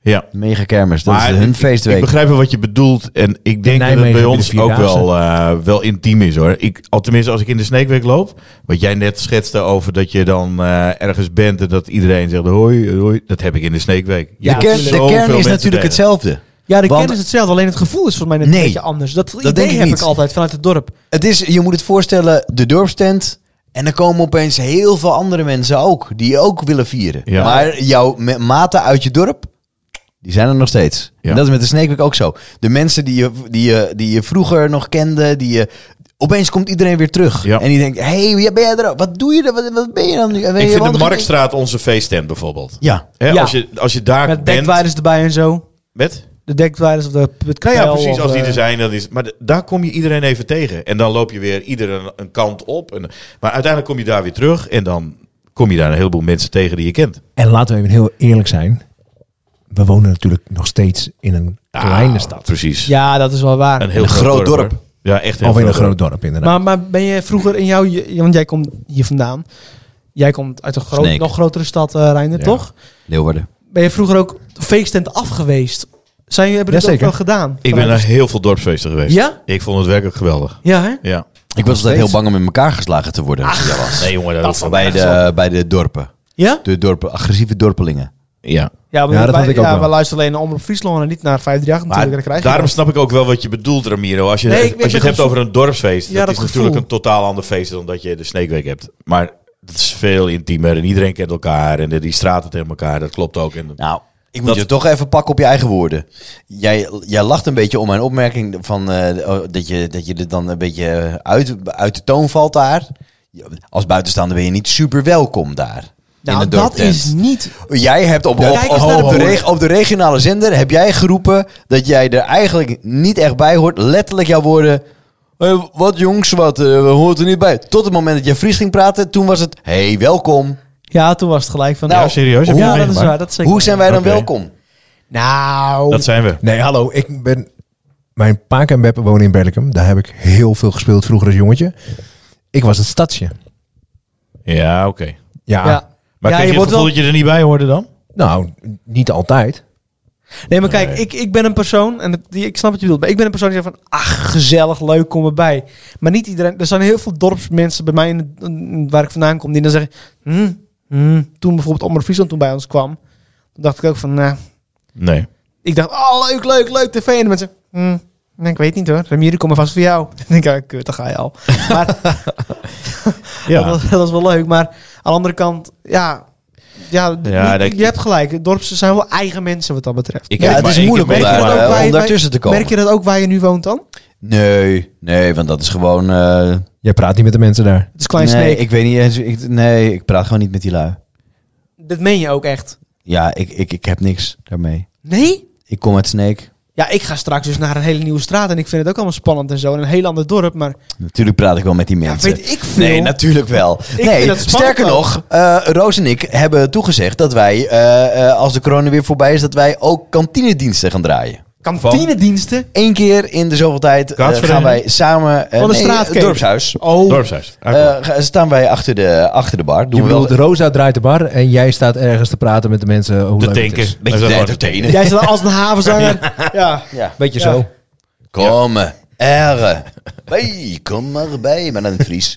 S4: ja.
S1: Mega kermis. Dat
S4: Maar
S1: is hun
S4: ik-
S1: feestweek.
S4: Ik begrijp wel wat je bedoelt. En ik denk dat het
S2: Nijmegen
S4: bij
S2: heb je
S4: ons
S2: de
S4: ook
S2: Vierdaagse.
S4: wel, eh, wel intiem is hoor. Ik, al tenminste, als ik in de Sneekweek loop. Wat jij net schetste over dat je dan eh, ergens bent en dat iedereen zegt hoi, hoi. Dat heb ik in de Sneekweek. Je
S1: de
S4: komt
S1: kern, de
S4: zoveel
S1: kern is
S4: mensen
S1: natuurlijk
S4: tegen.
S1: hetzelfde.
S3: Ja, de
S1: Want-
S3: kern is hetzelfde, alleen het gevoel is voor mij net
S1: Nee,
S3: een beetje anders. Dat, idee
S1: denk ik
S3: heb
S1: niet.
S3: ik altijd vanuit het dorp.
S1: Het is, je moet het voorstellen, de dorpstent. En er komen opeens heel veel andere mensen ook. Die ook willen vieren.
S4: Ja.
S1: Maar jouw me- maten uit je dorp, die zijn er nog steeds.
S4: Ja.
S1: En dat is met de Sneekweek ook zo. De mensen die je, die, je, die je vroeger nog kende, die je... Opeens komt iedereen weer terug.
S4: Ja.
S1: En die denkt, hé, hey, ben jij er ook? Wat doe je er? Wat, wat ben je dan nu? En weet
S4: Ik
S1: je
S4: vind
S1: wat?
S4: de Marktstraat onze feesttent bijvoorbeeld.
S1: Ja.
S4: Hè,
S3: Ja.
S4: Als, je, als je daar
S3: Met
S4: bent...
S3: dekwaarders erbij en zo.
S4: Met?
S3: De dekwaarders of de het
S4: Nou ja,
S3: pijl
S4: precies.
S3: of,
S4: Als die
S3: eh,
S4: er zijn, dan is. Maar d- daar kom je iedereen even tegen. En dan loop je weer ieder een, een kant op. En, maar uiteindelijk kom je daar weer terug. En dan kom je daar een heleboel mensen tegen die je kent.
S2: En laten we even heel eerlijk zijn. We wonen natuurlijk nog steeds in een kleine
S4: Ah,
S2: stad.
S4: Precies.
S3: Ja, dat is wel waar.
S4: Een heel
S1: Een groot dorp.
S4: hoor. Ja, echt heel
S2: Of in een groot dorp inderdaad.
S3: Maar, maar ben je vroeger in jouw... je- Want jij komt hier vandaan. Jij komt uit een groot,
S1: Sneek.
S3: nog grotere stad, eh Reinder,
S4: Ja.
S3: toch?
S1: Leeuwarden.
S3: Ben je vroeger ook feesttent af geweest? Zijn jullie hebben dat ook
S2: Jazeker.
S3: wel gedaan?
S4: Ik ben naar heel veel dorpsfeesten geweest.
S3: Ja?
S4: Ik vond het werkelijk geweldig.
S3: Ja, hè?
S4: Ja.
S1: Ik was altijd heel bang om in elkaar geslagen te worden. als ik daar was.
S4: Nee, jongen, dat, is
S1: bij, de, bij de dorpen.
S3: Ja?
S1: De dorpen, agressieve dorpelingen.
S4: Ja.
S3: Ja, maar
S2: Ja, dat
S3: wij,
S2: had ik ook
S3: ja,
S2: wel.
S3: we luisteren alleen naar Omroep Friesland en niet naar 538
S4: Maar
S3: natuurlijk. Dat krijg je
S4: daarom
S3: wel.
S4: snap ik ook wel wat je bedoelt, Ramiro. Als je,
S3: Nee, ik-
S4: als
S3: ik
S4: je het
S3: ben
S4: hebt over een dorpsfeest,
S3: Ja,
S4: dat,
S3: dat
S4: is natuurlijk
S3: gevoel.
S4: een totaal ander feest dan dat je de Sneekweek hebt. Maar het is veel intiemer en iedereen kent elkaar en de- die straten tegen elkaar. Dat klopt ook. En,
S1: Nou, ik moet
S4: Dat-
S1: je toch even pakken op je eigen woorden. Jij, jij lacht een beetje om mijn opmerking van, eh, oh, dat, je, dat je er dan een beetje uit, uit de toon valt daar. Ja, Als buitenstaander ben je niet super welkom daar. in
S3: Nou,
S1: de
S3: dat
S1: dorptent.
S3: is niet...
S1: Jij hebt op, op,
S3: Kijk eens
S1: op-
S3: naar de
S1: op de
S3: boer.
S1: reg- op de regionale zender heb jij geroepen dat jij er eigenlijk niet echt bij hoort. Letterlijk jouw woorden. "Hé, wat jongens, wat, eh, we hoort er niet bij. Tot het moment dat jij Fries ging praten, toen was het, hey, welkom.
S3: Ja, toen was het gelijk van...
S1: Nou,
S3: ja,
S4: serieus? Heb je
S3: Ja,
S4: dat
S3: dat is
S4: meegemaakt?
S3: waar. Dat is zeker
S1: Hoe zijn wij dan
S4: Oké.
S1: welkom?
S3: Nou...
S4: dat zijn we.
S2: Nee, hallo. Ik ben... Mijn pa en beppen wonen in Berlikum. Daar heb ik heel veel gespeeld vroeger als jongetje. Ik was het stadje.
S4: Ja, oké.
S2: Ja.
S3: ja.
S4: Maar
S3: ja,
S4: kreeg je, het
S3: wordt
S4: gevoel
S3: wel-
S4: dat je er niet bij hoorde dan?
S2: Nou, niet altijd.
S3: Nee, maar kijk,
S4: Nee.
S3: ik, ik ben een persoon, en het- die, ik snap wat je bedoelt, maar ik ben een persoon die zegt van, ach, gezellig, leuk, kom erbij. Maar niet iedereen, er zijn heel veel dorpsmensen bij mij, in, het- in- waar ik vandaan kom, die dan zeggen, hm, hm. toen bijvoorbeeld Omar Friesland toen bij ons kwam, toen dacht ik ook van, nou,
S4: Nee.
S3: ik dacht, oh, leuk, leuk, leuk, tv, en de mensen, hm, nou, ik weet niet hoor, Ramier, kom maar vast voor jou. Dan denk ik, ah, kut, daar ga je al. Maar dat,
S4: Ja.
S3: was, dat was wel leuk, maar aan de andere kant, ja... Ja,
S4: Ja,
S3: je,
S4: dat-
S3: je hebt gelijk. Dorpsen zijn wel eigen mensen wat dat betreft.
S4: Ik
S1: Ja,
S4: heb
S1: het
S4: maar
S1: is
S4: één
S1: moeilijk
S4: keer
S1: om, daar,
S3: meegemaakt.
S1: eh,
S3: Merk je dat ook
S1: om
S3: bij-
S1: daartussen te komen.
S3: Merk je dat ook waar je nu woont dan?
S1: Nee, nee, want dat is gewoon... eh,
S2: Jij praat niet met de mensen daar.
S3: Het is klein
S1: nee,
S3: sneek.
S1: ik weet niet eens... Ik, nee, ik praat gewoon niet met die lui.
S3: Dat meen je ook echt.
S1: Ja, ik, ik, ik heb niks daarmee.
S3: Nee?
S1: Ik kom uit Sneek.
S3: Ja, ik ga straks dus naar een hele nieuwe straat en ik vind het ook allemaal spannend en zo. En een heel ander dorp, maar
S1: Natuurlijk praat ik wel met die
S3: ja,
S1: mensen.
S3: weet ik veel.
S1: Nee, natuurlijk wel.
S3: vind
S1: nee,
S3: dat spannend
S1: sterker
S3: ook.
S1: nog, eh, Roos en ik hebben toegezegd dat wij, eh, eh, als de corona weer voorbij is, dat wij ook kantinediensten gaan draaien.
S3: Kantinediensten?
S1: Eén keer in de zoveel tijd eh, gaan
S4: Kaatsvereniging?
S1: wij samen... eh,
S3: Van de
S1: nee,
S3: straatcake.
S1: eh, Dorpshuis.
S3: Oh,
S4: Dorpshuis. Ah,
S1: Eh, ga- staan wij achter de, achter de bar. Doen
S2: Je
S1: we wel
S2: bedoelt, Rosa draait de bar en jij staat ergens te praten met de mensen hoe
S4: De
S2: leuk het
S4: tanker.
S2: is.
S1: Beetje
S4: Dat is
S1: te
S4: wel-
S1: entertainen.
S3: jij zit als een havenzanger. ja.
S1: Ja.
S2: Beetje
S3: Ja.
S2: zo.
S1: Kom, erre. Hey, kom maar bij. Maar dan in het Fries.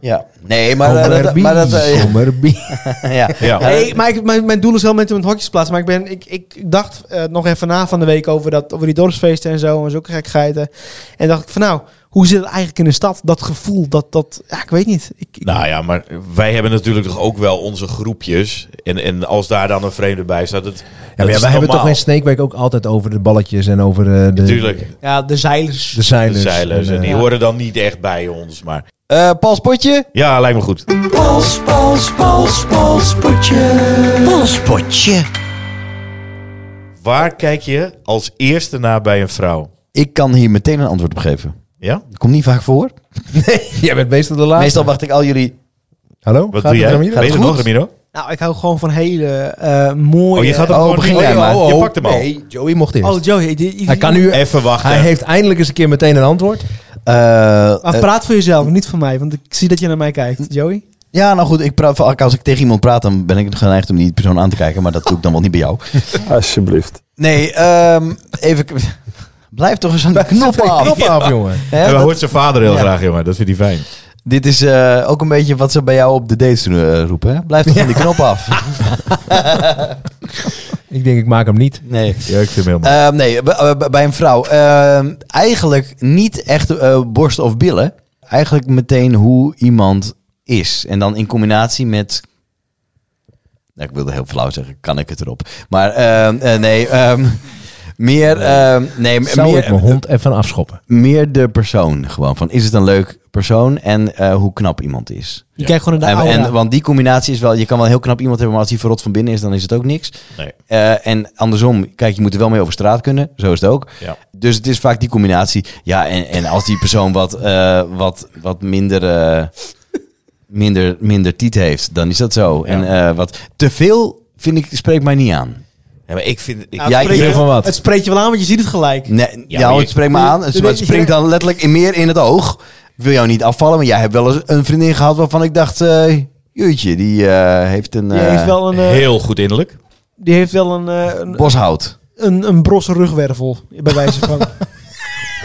S1: Ja. Nee, maar, eh, dat, maar dat... eh,
S2: Kom erbij.
S1: ja.
S4: Ja.
S1: Ja,
S3: Nee, maar ik, mijn, mijn doel is heel met om het hokjes te plaatsen. Maar ik, ben, ik, ik, ik dacht eh, nog even na van de week over, dat, over die dorpsfeesten en zo. En zulke gekgeiten. En dacht ik van nou, hoe zit het eigenlijk in de stad? Dat gevoel, dat, dat ja, ik weet niet. Ik, ik-
S4: Nou ja, maar wij hebben natuurlijk toch ook wel onze groepjes. En, en als daar dan een vreemde bij staat, dat,
S2: Ja, maar ja, wij hebben toch in Snake Week ook altijd over de balletjes en over eh, de,
S4: Natuurlijk,
S3: ja, de zeilers.
S2: de
S4: de
S2: zeilers. eh,
S4: zeilers. En die
S3: ja.
S4: horen dan niet echt bij ons. Maar
S1: eh, Paul Spotje.
S4: ja, lijkt me goed.
S6: Pols, pols, pols, pols, potje.
S4: Waar kijk je als eerste naar bij een vrouw?
S1: Ik kan hier meteen een antwoord op geven.
S4: Ja?
S1: Dat komt niet vaak voor.
S2: Jij bent meestal de laatste.
S1: Meestal wacht ik al jullie...
S2: Hallo?
S4: Wat
S2: Gaat
S4: doe
S2: het
S4: jij?
S2: om hier?
S4: Weet je het
S1: Gaat
S4: nog,
S1: goed?
S4: Ramiro?
S3: Nou, ik hou gewoon van hele eh, mooie...
S4: Oh, je gaat hem
S1: Oh,
S4: gewoon
S1: begin
S4: niet-
S1: jij
S4: oh,
S1: maar.
S4: oh, je pakt hem al.
S2: Nee, Joey mocht eerst. Eh,
S3: Oh, Joey. die- die-
S2: hij kan nu...
S4: Even wachten.
S2: Hij heeft eindelijk eens een keer meteen een antwoord.
S1: eh,
S3: Maar
S1: eh,
S3: praat voor jezelf, niet voor mij. Want ik zie dat je naar mij kijkt, Joey.
S1: Ja, nou goed, ik praat, als ik tegen iemand praat, dan ben ik geneigd om die persoon aan te kijken. Maar dat doe ik dan wel niet bij jou.
S7: Alsjeblieft.
S1: Nee, ehm, even... Blijf toch eens aan de knop af.
S2: Knop af, jongen.
S1: Hè,
S4: En hij
S1: dat-
S4: hoort zijn vader heel
S1: Ja.
S4: graag, jongen. Dat vindt hij fijn.
S1: dit is eh, ook een beetje wat ze bij jou op de dates doen, eh, roepen. Hè? Blijf toch van die knop af.
S2: Ik denk, ik maak hem niet.
S1: Nee.
S4: Ja, ik vind hem heel mooi.
S1: Ehm, nee, b- eh, b- bij een vrouw. ehm, eigenlijk niet echt eh, borst of billen. Eigenlijk meteen hoe iemand is. En dan in combinatie met... Nou, ik wilde heel flauw zeggen, kan ik het erop. Maar ehm, eh, nee, ehm, meer, ehm, nee, m-
S2: Eh, Zou ik
S1: meer,
S2: mijn hond even afschoppen?
S1: meer de persoon gewoon. Van, is het een leuk persoon en eh, hoe knap iemand is.
S3: Je kijkt gewoon naar de
S1: En,
S3: aura.
S1: en, want die combinatie is wel, je kan wel heel knap iemand hebben, maar als die verrot van binnen is, dan is het ook niks.
S4: Nee.
S1: Eh, en andersom, kijk, je moet er wel mee over straat kunnen, zo is het ook.
S4: Ja.
S1: Dus het is vaak die combinatie. Ja, en, en als die persoon wat, eh, wat, wat minder, eh, minder, minder tiet heeft, dan is dat zo. En eh, wat te veel, vind ik, spreekt mij niet aan.
S4: Ja, maar ik vind... Ik,
S3: Nou,
S1: Ja,
S3: het
S1: ik
S3: spreekt
S2: wil
S3: je-
S2: van wat.
S3: Het spreekt je wel aan, want je ziet het gelijk.
S1: Nee, ja,
S4: maar je-
S1: het spreekt me aan, het,
S3: je-
S1: het springt dan letterlijk in meer in het oog. Ik wil jou niet afvallen, maar jij hebt wel eens een vriendin gehad waarvan ik dacht, eh jeetje, die eh, heeft een...
S3: Die
S1: eh,
S3: heeft wel een, eh,
S4: Heel goed innerlijk.
S3: die heeft wel een, eh, een,
S1: Boshout.
S3: een, een brosse rugwervel, bij wijze van.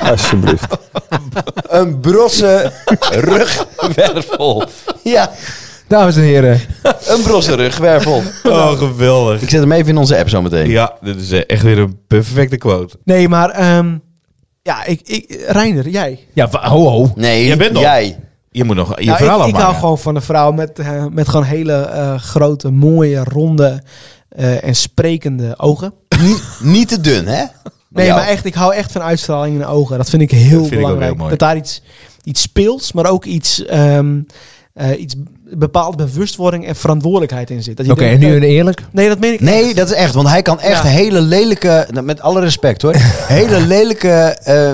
S7: Alsjeblieft.
S1: Een brosse rugwervel. Ja,
S2: Dames en heren,
S1: een brosse rugwervel.
S4: Oh, geweldig.
S1: Ik zet hem even in onze app zo meteen.
S4: Ja, dit is eh, echt weer een perfecte quote.
S3: nee, maar... ehm, ja, ik, ik, Reiner, jij.
S2: Ja, wa- ho ho.
S1: Nee,
S4: Jij bent nog.
S1: jij.
S4: Je moet nog je
S3: Nou,
S4: verhaal
S3: ik, ik hou
S4: afmaken.
S3: gewoon van een vrouw met, eh, met gewoon hele eh, grote, mooie, ronde eh, en sprekende ogen.
S1: Niet, niet te dun, hè?
S3: Nee,
S1: Jou.
S3: maar echt, ik hou echt van uitstraling in de ogen. Dat vind ik heel
S4: vind ik ook
S3: belangrijk.
S4: heel mooi.
S3: dat daar iets, iets speels, maar ook iets, ehm eh, iets bepaald bewustwording en verantwoordelijkheid in zit. Dat je
S2: Oké, en
S3: denkt,
S2: nu
S3: eh,
S2: een eerlijk.
S3: Nee, dat meen ik
S1: Nee,
S3: echt.
S1: dat is echt. Want hij kan echt
S3: Ja.
S1: hele lelijke... nou, Met alle respect, hoor. Hele lelijke... eh,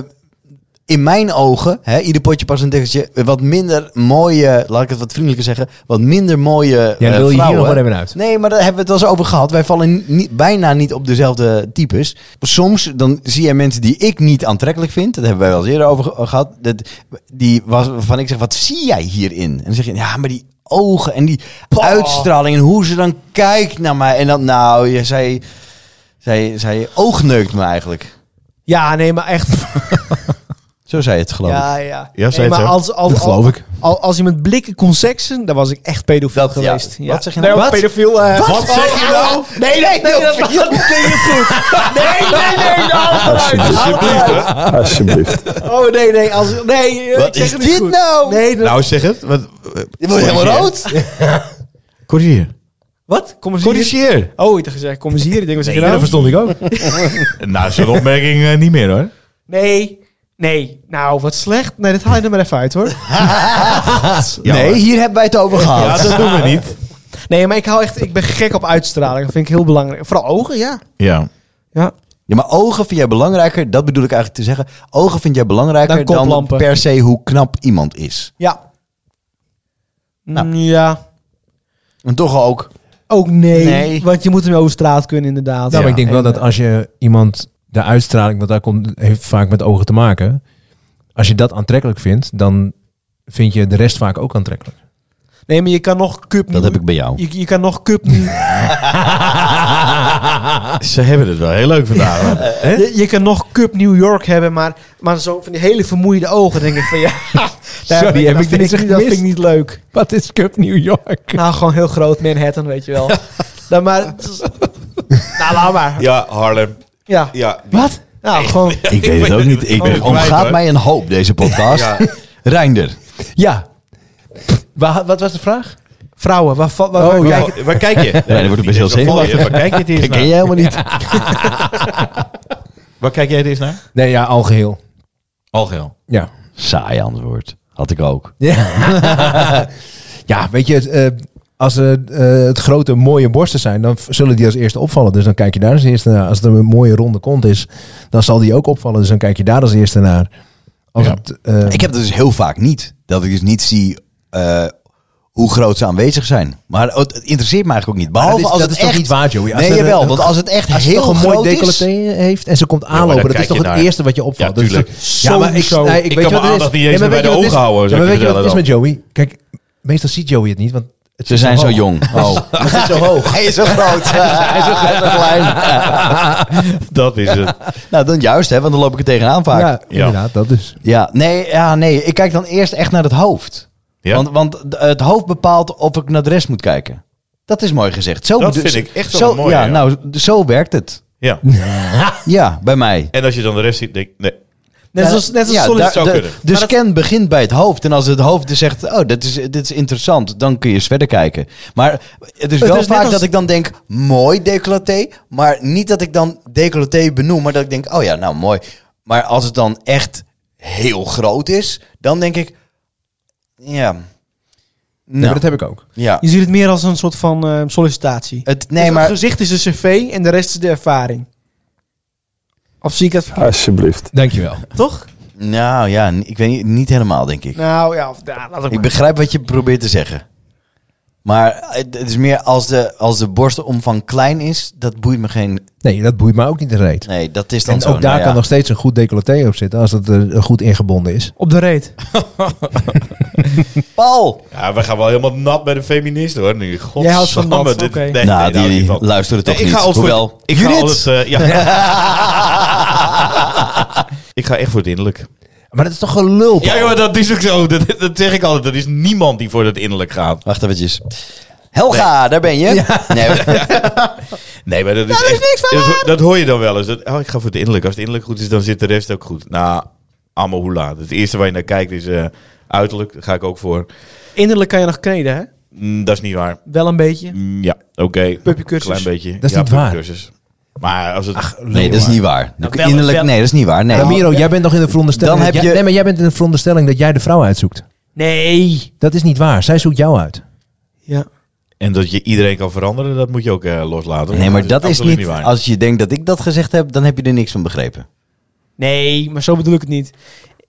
S1: in mijn ogen, hè, ieder potje past een tikkeltje... wat minder mooie... laat ik het wat vriendelijker zeggen... wat minder mooie
S2: Ja,
S1: eh,
S2: wil je hier
S1: vrouwen.
S2: nog maar even uit.
S1: Nee, maar daar hebben we het wel eens over gehad. Wij vallen niet, bijna niet op dezelfde types. Soms dan zie je mensen die ik niet aantrekkelijk vind. Dat hebben wij wel eens eerder over ge- gehad. Dat, die was, waarvan ik zeg, wat zie jij hierin? En dan zeg je, ja, maar die ogen en die uitstraling en hoe ze dan kijkt naar mij. En dan, nou, je, zij, zij, zij oogneukt me eigenlijk.
S3: Ja, nee, maar echt.
S1: Zo zei je het, geloof ik.
S3: Ja, ja.
S4: Ja,
S3: nee,
S4: zei
S3: maar
S4: het zo.
S3: als, als,
S2: Dat geloof
S3: als,
S2: ik.
S3: Als, als je met blikken kon seksen, dan was ik echt pedofiel
S1: Dat, ja.
S3: geweest.
S1: Wat zeg je
S3: Nee,
S1: nou?
S3: ook
S1: Wat?
S3: pedofiel. eh,
S1: Wat zeg je nou?
S3: Nee, nee, nee, dat, dat klinkt goed. Nee, nee, nee, nee,
S7: Alsjeblieft.
S3: Alsjeblieft.
S7: Alsjeblieft.
S3: Oh, nee, nee. Als, nee eh,
S1: Wat
S3: ik zeg
S1: is
S3: het niet
S1: dit
S3: goed.
S1: nou?
S3: Nee, dat-
S4: Nou, zeg het. Wat,
S1: Je wordt helemaal rood.
S4: Corrigeer.
S3: wat? Kom eens hier.
S4: Corrigeer.
S3: Oh, ik dacht gezegd, kom eens hier. Ik denk, wat zeg je
S2: Ja, dat verstond
S3: nou?
S2: ik ook.
S4: Nou, zo'n opmerking eh, niet meer hoor.
S3: Nee, nee. Nou, wat slecht. Nee, dat haal je er maar even uit, hoor.
S1: nee, hier hebben wij het over gehad.
S4: Ja, dat doen we niet.
S3: Nee, maar ik hou echt... Ik ben gek op uitstraling. Dat vind ik heel belangrijk. Vooral ogen, ja.
S4: Ja.
S3: Ja.
S1: Ja, maar ogen vind jij belangrijker, dat bedoel ik eigenlijk te zeggen. Ogen vind jij belangrijker
S3: Dan
S1: dan,
S3: koplampen.
S1: per se hoe knap iemand is.
S3: Ja.
S1: Nou.
S3: Mm, Ja.
S1: En toch ook.
S3: Ook nee,
S1: Nee.
S3: Want je moet hem over straat kunnen, inderdaad.
S2: Nou, maar ik denk wel
S3: En,
S2: dat als je iemand de uitstraling, want daar komt, heeft vaak met ogen te maken. Als je dat aantrekkelijk vindt, dan vind je de rest vaak ook aantrekkelijk.
S3: Nee, maar je kan nog cup
S1: Dat heb ik bij jou.
S3: Je, je kan nog cup nu.
S4: Ze hebben het wel heel leuk vandaag.
S3: Je, je kan nog Cup New York hebben, maar, maar zo van die hele vermoeide ogen denk ik van ja. daar-
S2: Sorry, heb
S3: dat
S2: ik
S3: vind
S2: niks
S3: niet- Dat vind ik
S2: gemist?
S3: niet leuk.
S2: Wat is Cup New York?
S3: Nou, gewoon heel groot Manhattan, weet je wel. Dan maar. het is- nou, laat maar.
S4: Ja, Harlem.
S3: Ja.
S4: Ja.
S1: Wat?
S3: Nou, gewoon.
S1: Ik weet het ook niet. Ik
S4: ben
S1: ben,
S4: het kwijt,
S1: omgaat
S4: hoor.
S1: mij een hoop, deze podcast.
S4: Ja.
S1: Reinder.
S2: Ja. Wa- Wat was de vraag? Oh,
S3: Vrouwen, waar, va- waar, waar
S4: Waar-
S3: kijken-
S4: Waar kijk je?
S1: Nee, dat wordt best heel zenuwachtig.
S4: Waar kijk je het eerst
S1: Dat ken
S4: naar?
S1: je helemaal niet.
S4: Waar kijk jij het eerst naar?
S2: Nee, ja, al geheel.
S4: Algeheel.
S2: Ja.
S1: Saai antwoord. Had ik ook.
S2: Ja, ja weet je, het, eh, als eh, eh, het grote mooie borsten zijn, dan v- zullen die als eerste opvallen. Dus dan kijk je daar als eerste naar. Als het een mooie ronde kont is, dan zal die ook opvallen. Dus dan kijk je daar als eerste naar. Als
S4: Ja.
S2: het, eh,
S1: Ik heb dat dus heel vaak niet. Dat ik dus niet zie eh, hoe groot ze aanwezig zijn. Maar het, het interesseert me eigenlijk ook niet. Behalve
S2: dat is-
S1: als
S2: dat
S1: het
S2: is toch
S1: echt...
S2: niet waar, Joey? Als
S1: nee,
S2: er een-
S1: jawel.
S2: een-
S1: Want als het echt
S2: als het
S1: heel
S2: toch een
S1: groot
S2: mooi
S1: is...
S2: decolleté eh, heeft en ze komt
S4: maar
S2: aanlopen,
S4: daar
S2: dat is
S4: kijk
S2: toch
S4: je
S2: het
S4: naar.
S2: eerste wat je opvalt.
S4: Ja,
S2: Dat is
S4: tuurlijk.
S2: toch- Ja, maar ik,
S3: Sowieso.
S2: nee, ik,
S4: Ik
S2: weet
S4: kan
S2: je
S4: mijn
S2: wat het
S4: aandacht
S2: is.
S4: niet eens
S2: Ja, maar
S4: meer bij
S2: weet
S4: de
S2: je wat het is?
S4: ogen houden,
S2: Ja, maar
S4: zou ik
S2: weet je wat
S4: je
S2: het is met Joey? Kijk, meestal ziet Joey het niet, want het
S1: Ze
S2: is
S1: zijn zo
S2: hoog.
S1: jong. Oh.
S2: Het is zo hoog.
S1: Hij is zo groot. Hij is zo groot en klein.
S4: Dat is het.
S1: Nou, dan juist, hè, want dan loop ik er tegenaan vaak.
S2: Ja,
S1: Ja,
S2: inderdaad, dat dus.
S1: nee, ja nee, ik kijk dan eerst echt naar het hoofd.
S4: Ja.
S1: Want, want d- het hoofd bepaalt of ik naar de rest moet kijken. Dat is mooi gezegd. Zo
S4: Dat
S1: bedo-
S4: vind ik echt wel
S1: zo,
S4: een mooie,
S1: Ja,
S4: ja.
S1: nou, d- zo werkt het.
S4: Ja.
S1: Ja, bij mij.
S4: En als je dan de rest ziet, denk ik, nee.
S3: Net als, net als
S1: Ja,
S3: sollicitatie.
S1: daar-
S4: zou
S1: de-
S4: kunnen.
S1: De scan begint bij het hoofd. En als het hoofd dus zegt, oh, dit is, dit is interessant, dan kun je eens verder kijken. Maar het is
S3: Het
S1: wel
S3: is net
S1: vaak
S3: als-
S1: dat ik dan denk, mooi decolleté. Maar niet dat ik dan decolleté benoem, maar dat ik denk, oh ja, nou mooi. Maar als het dan echt heel groot is, dan denk ik, ja.
S2: Nee,
S1: Nou,
S2: maar dat heb ik ook.
S1: ja.
S3: Je ziet het meer als een soort van eh, sollicitatie.
S1: Het,
S3: Dus
S1: nee,
S3: Het
S1: maar
S3: gezicht is een cv en de rest is de ervaring. Of zie ik dat verkeerd?
S7: Alsjeblieft.
S2: Dankjewel.
S3: Toch?
S1: nou ja, n- ik weet niet, niet helemaal, denk ik.
S3: Nou ja, of, ja laat ik
S1: Ik
S3: maar.
S1: begrijp wat je probeert te zeggen. Maar het het is meer als de, als de borstenomvang klein is, dat boeit me geen.
S2: Nee, dat boeit mij ook niet een reet.
S1: Nee, dat is dan
S2: En
S1: zo.
S2: ook daar
S1: Nou ja.
S2: kan nog steeds een goed decolleté op zitten als dat er eh, goed ingebonden is.
S3: Op de reet.
S1: Paul!
S4: Ja, we gaan wel helemaal nat bij de feministen hoor nu. God,
S3: Jij houdt van nat, oké.
S4: nee,
S1: nou,
S4: nee, daar
S1: die
S4: niet van.
S1: luisteren toch
S4: Nee, ik
S1: niet.
S4: ga altijd
S1: Hoewel,
S4: voor... Ik ga,
S1: Judith!
S4: altijd, eh, ja, ik ga echt voor het innerlijk.
S2: Maar dat is toch gelul?
S4: Ja joh, dat is ook zo. Dat, dat zeg ik altijd. Er is niemand die voor het innerlijk gaat.
S1: Wacht eventjes. Helga, daar ben je. Nee, maar-
S4: Nee, maar dat Nou, is, echt- dat, dat hoor je dan wel eens. Dat, oh, ik ga voor het innerlijk. Als het innerlijk goed is, dan zit de rest ook goed. Nou, allemaal hoela. Het eerste waar je naar kijkt is eh, uiterlijk. Daar ga ik ook voor.
S3: Innerlijk kan je nog kneden, hè?
S4: Mm, dat is niet waar.
S3: Wel een beetje.
S4: Mm, ja, oké.
S3: Puppycursus.
S4: Klein beetje.
S2: Dat is
S4: ja,
S2: niet waar.
S4: puppycursus. Maar als het...
S1: nee, dat is niet waar.
S3: wel-
S1: Innerlijk,
S3: wel-
S1: nee, dat is niet waar. Nee.
S2: Nou, Ramiro, jij bent nog in de veronderstelling.
S1: Dan
S2: dat
S1: heb
S2: jij-
S1: je-
S2: Nee, maar jij bent in de veronderstelling dat jij de vrouw uitzoekt.
S3: Nee.
S2: Dat is niet waar. Zij zoekt jou uit.
S3: Ja.
S4: En dat je iedereen kan veranderen, dat moet je ook eh, loslaten.
S1: Nee, maar dat is
S4: absoluut
S1: niet. Als je denkt dat ik dat gezegd heb, dan heb je er niks van begrepen.
S3: Nee, maar zo bedoel ik het niet.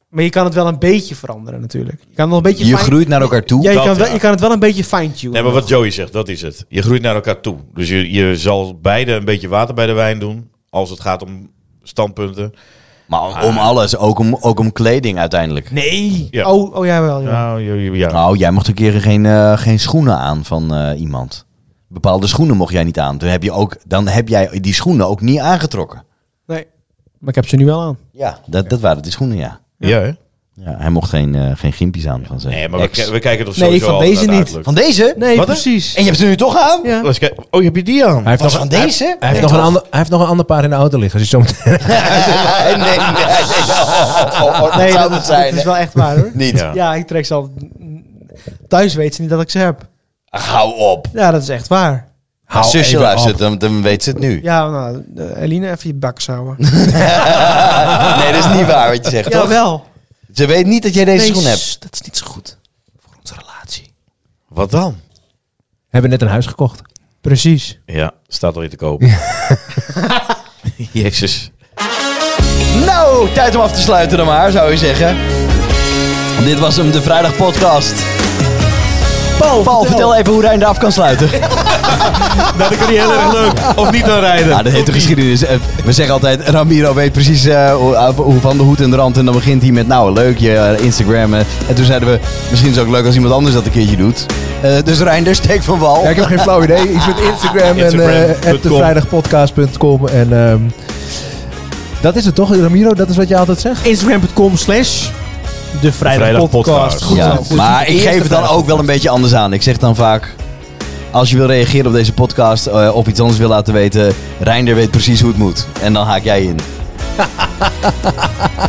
S3: Maar je kan het wel een beetje veranderen natuurlijk. Je kan het wel een beetje
S1: Je
S3: fijn-
S1: groeit naar elkaar toe.
S3: Ja, je,
S4: Dat,
S3: kan wel,
S4: ja.
S3: je kan het wel een beetje fine-tunen.
S4: Nee, maar wat Joey zegt, dat is het. Je groeit naar elkaar toe. Dus je, je zal beide een beetje water bij de wijn doen. Als het gaat om standpunten.
S1: Maar om alles, ook om, ook om kleding uiteindelijk.
S3: Nee.
S4: Ja.
S3: Oh, oh ja, wel. Ja.
S4: Nou, je- je- ja.
S1: Nou, jij mocht een keer geen, eh, geen schoenen aan van eh, iemand. Bepaalde schoenen mocht jij niet aan. Dan heb, je ook, dan heb jij die schoenen ook niet aangetrokken.
S3: Nee. Maar ik heb ze nu wel aan.
S1: Ja, dat, dat waren die schoenen, ja.
S4: Ja, hè?
S1: ja hij mocht geen, eh geen gimpies aan van zijn
S4: Nee, maar we,
S1: ex.
S4: ki- we kijken toch
S3: Nee,
S4: sowieso
S3: van
S4: altijd
S3: deze
S4: naar het
S3: niet.
S4: uiterlijk.
S1: Van deze?
S3: Nee,
S4: Wat?
S3: precies.
S1: En je hebt ze nu toch aan?
S3: Ja.
S4: Laat eens kijken. Oh, je hebt die aan.
S2: Hij heeft,
S1: Was
S2: nog,
S1: van deze? Hij,
S2: hij heeft nog, een ander, hij heeft nog een ander paar in de auto liggen. Als je zo meteen-
S1: nee, nee, nee. Oh, oh, oh, dat
S3: Nee,
S1: zou
S3: dat,
S1: het
S3: dat
S1: zijn.
S3: is wel echt waar hoor.
S1: Niet.
S4: Ja.
S3: Ja, ik trek ze al... Thuis weet ze niet dat ik ze heb.
S1: Ach, Hou op.
S3: Ja, dat is echt waar.
S1: Haar zusje
S2: even
S1: luistert, dan, dan weet ze het nu.
S3: Ja, nou, eh, Eline, even je bak zouden.
S1: nee, dat is niet waar wat je zegt, toch?
S3: Jawel.
S1: Ze weet niet dat jij deze
S3: Nee,
S1: schoen hebt.
S3: sst, dat is niet zo goed. Voor onze relatie.
S4: Wat dan?
S2: hebben net een huis gekocht.
S3: Precies.
S4: Ja, staat al in te koop. Jezus.
S1: Nou, tijd om af te sluiten dan maar, zou je zeggen. Dit was hem, de Vrijdag Podcast.
S3: Paul,
S1: Paul, vertel even hoe Rijn eraf kan sluiten.
S4: Nou, dat kan niet heel erg leuk. Of niet aan rijden.
S1: Ja, dat heet de geschiedenis. Eh, We zeggen altijd, Ramiro weet precies eh, hoe hoe van de hoed en de rand. En dan begint hij met, nou leuk, je eh, Instagram. eh. En toen zeiden we, misschien is het ook leuk als iemand anders dat een keertje doet. Eh, dus Rijn, daar steek van wal.
S2: Ja, ik heb geen flauw idee. Iets met Instagram, en
S4: Instagram.com.
S2: eh @devrijdagpodcast.com en ehm, dat is het toch, Ramiro? Dat is wat je altijd zegt?
S3: Instagram.com slash de Vrijdag Podcast.
S4: Vrijdagpodcast.
S3: Goed
S1: Ja,
S3: zo, goed zo.
S1: maar
S3: De
S1: ik geef
S3: eerste
S1: het dan
S3: Vrijdag.
S1: ook wel een beetje anders aan. Ik zeg dan vaak, als je wil reageren op deze podcast eh, of iets anders wil laten weten, Reinder weet precies hoe het moet. En dan haak jij in.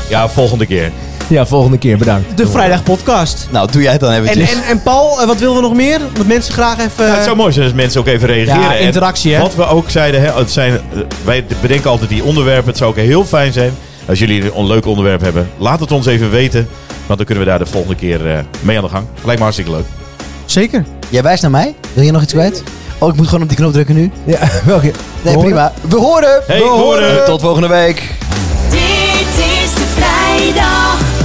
S4: Ja, volgende keer.
S2: Ja, volgende keer. Bedankt.
S3: De Vrijdag Podcast.
S1: Nou, doe jij het dan
S3: En,
S1: eventjes.
S3: en, en Paul, eh, wat willen we nog meer? Want mensen graag even...
S4: Ja, het zou mooi zijn als mensen ook even reageren.
S3: Eh, Ja,
S4: En
S3: interactie, hè?
S4: Wat we ook zeiden, hè, het zijn, eh, wij bedenken altijd die onderwerpen. Het zou ook heel fijn zijn als jullie een leuk onderwerp hebben. Laat het ons even weten, want dan kunnen we daar de volgende keer eh, mee aan de gang. Lijkt me hartstikke leuk.
S3: Zeker.
S1: Jij wijst naar mij. Wil je nog iets kwijt? Oh, ik moet gewoon op die knop drukken nu.
S2: Ja, welke?
S1: Nee, prima. We horen!
S4: Hey, horen!
S1: Tot volgende week.
S5: Dit is de vrijdag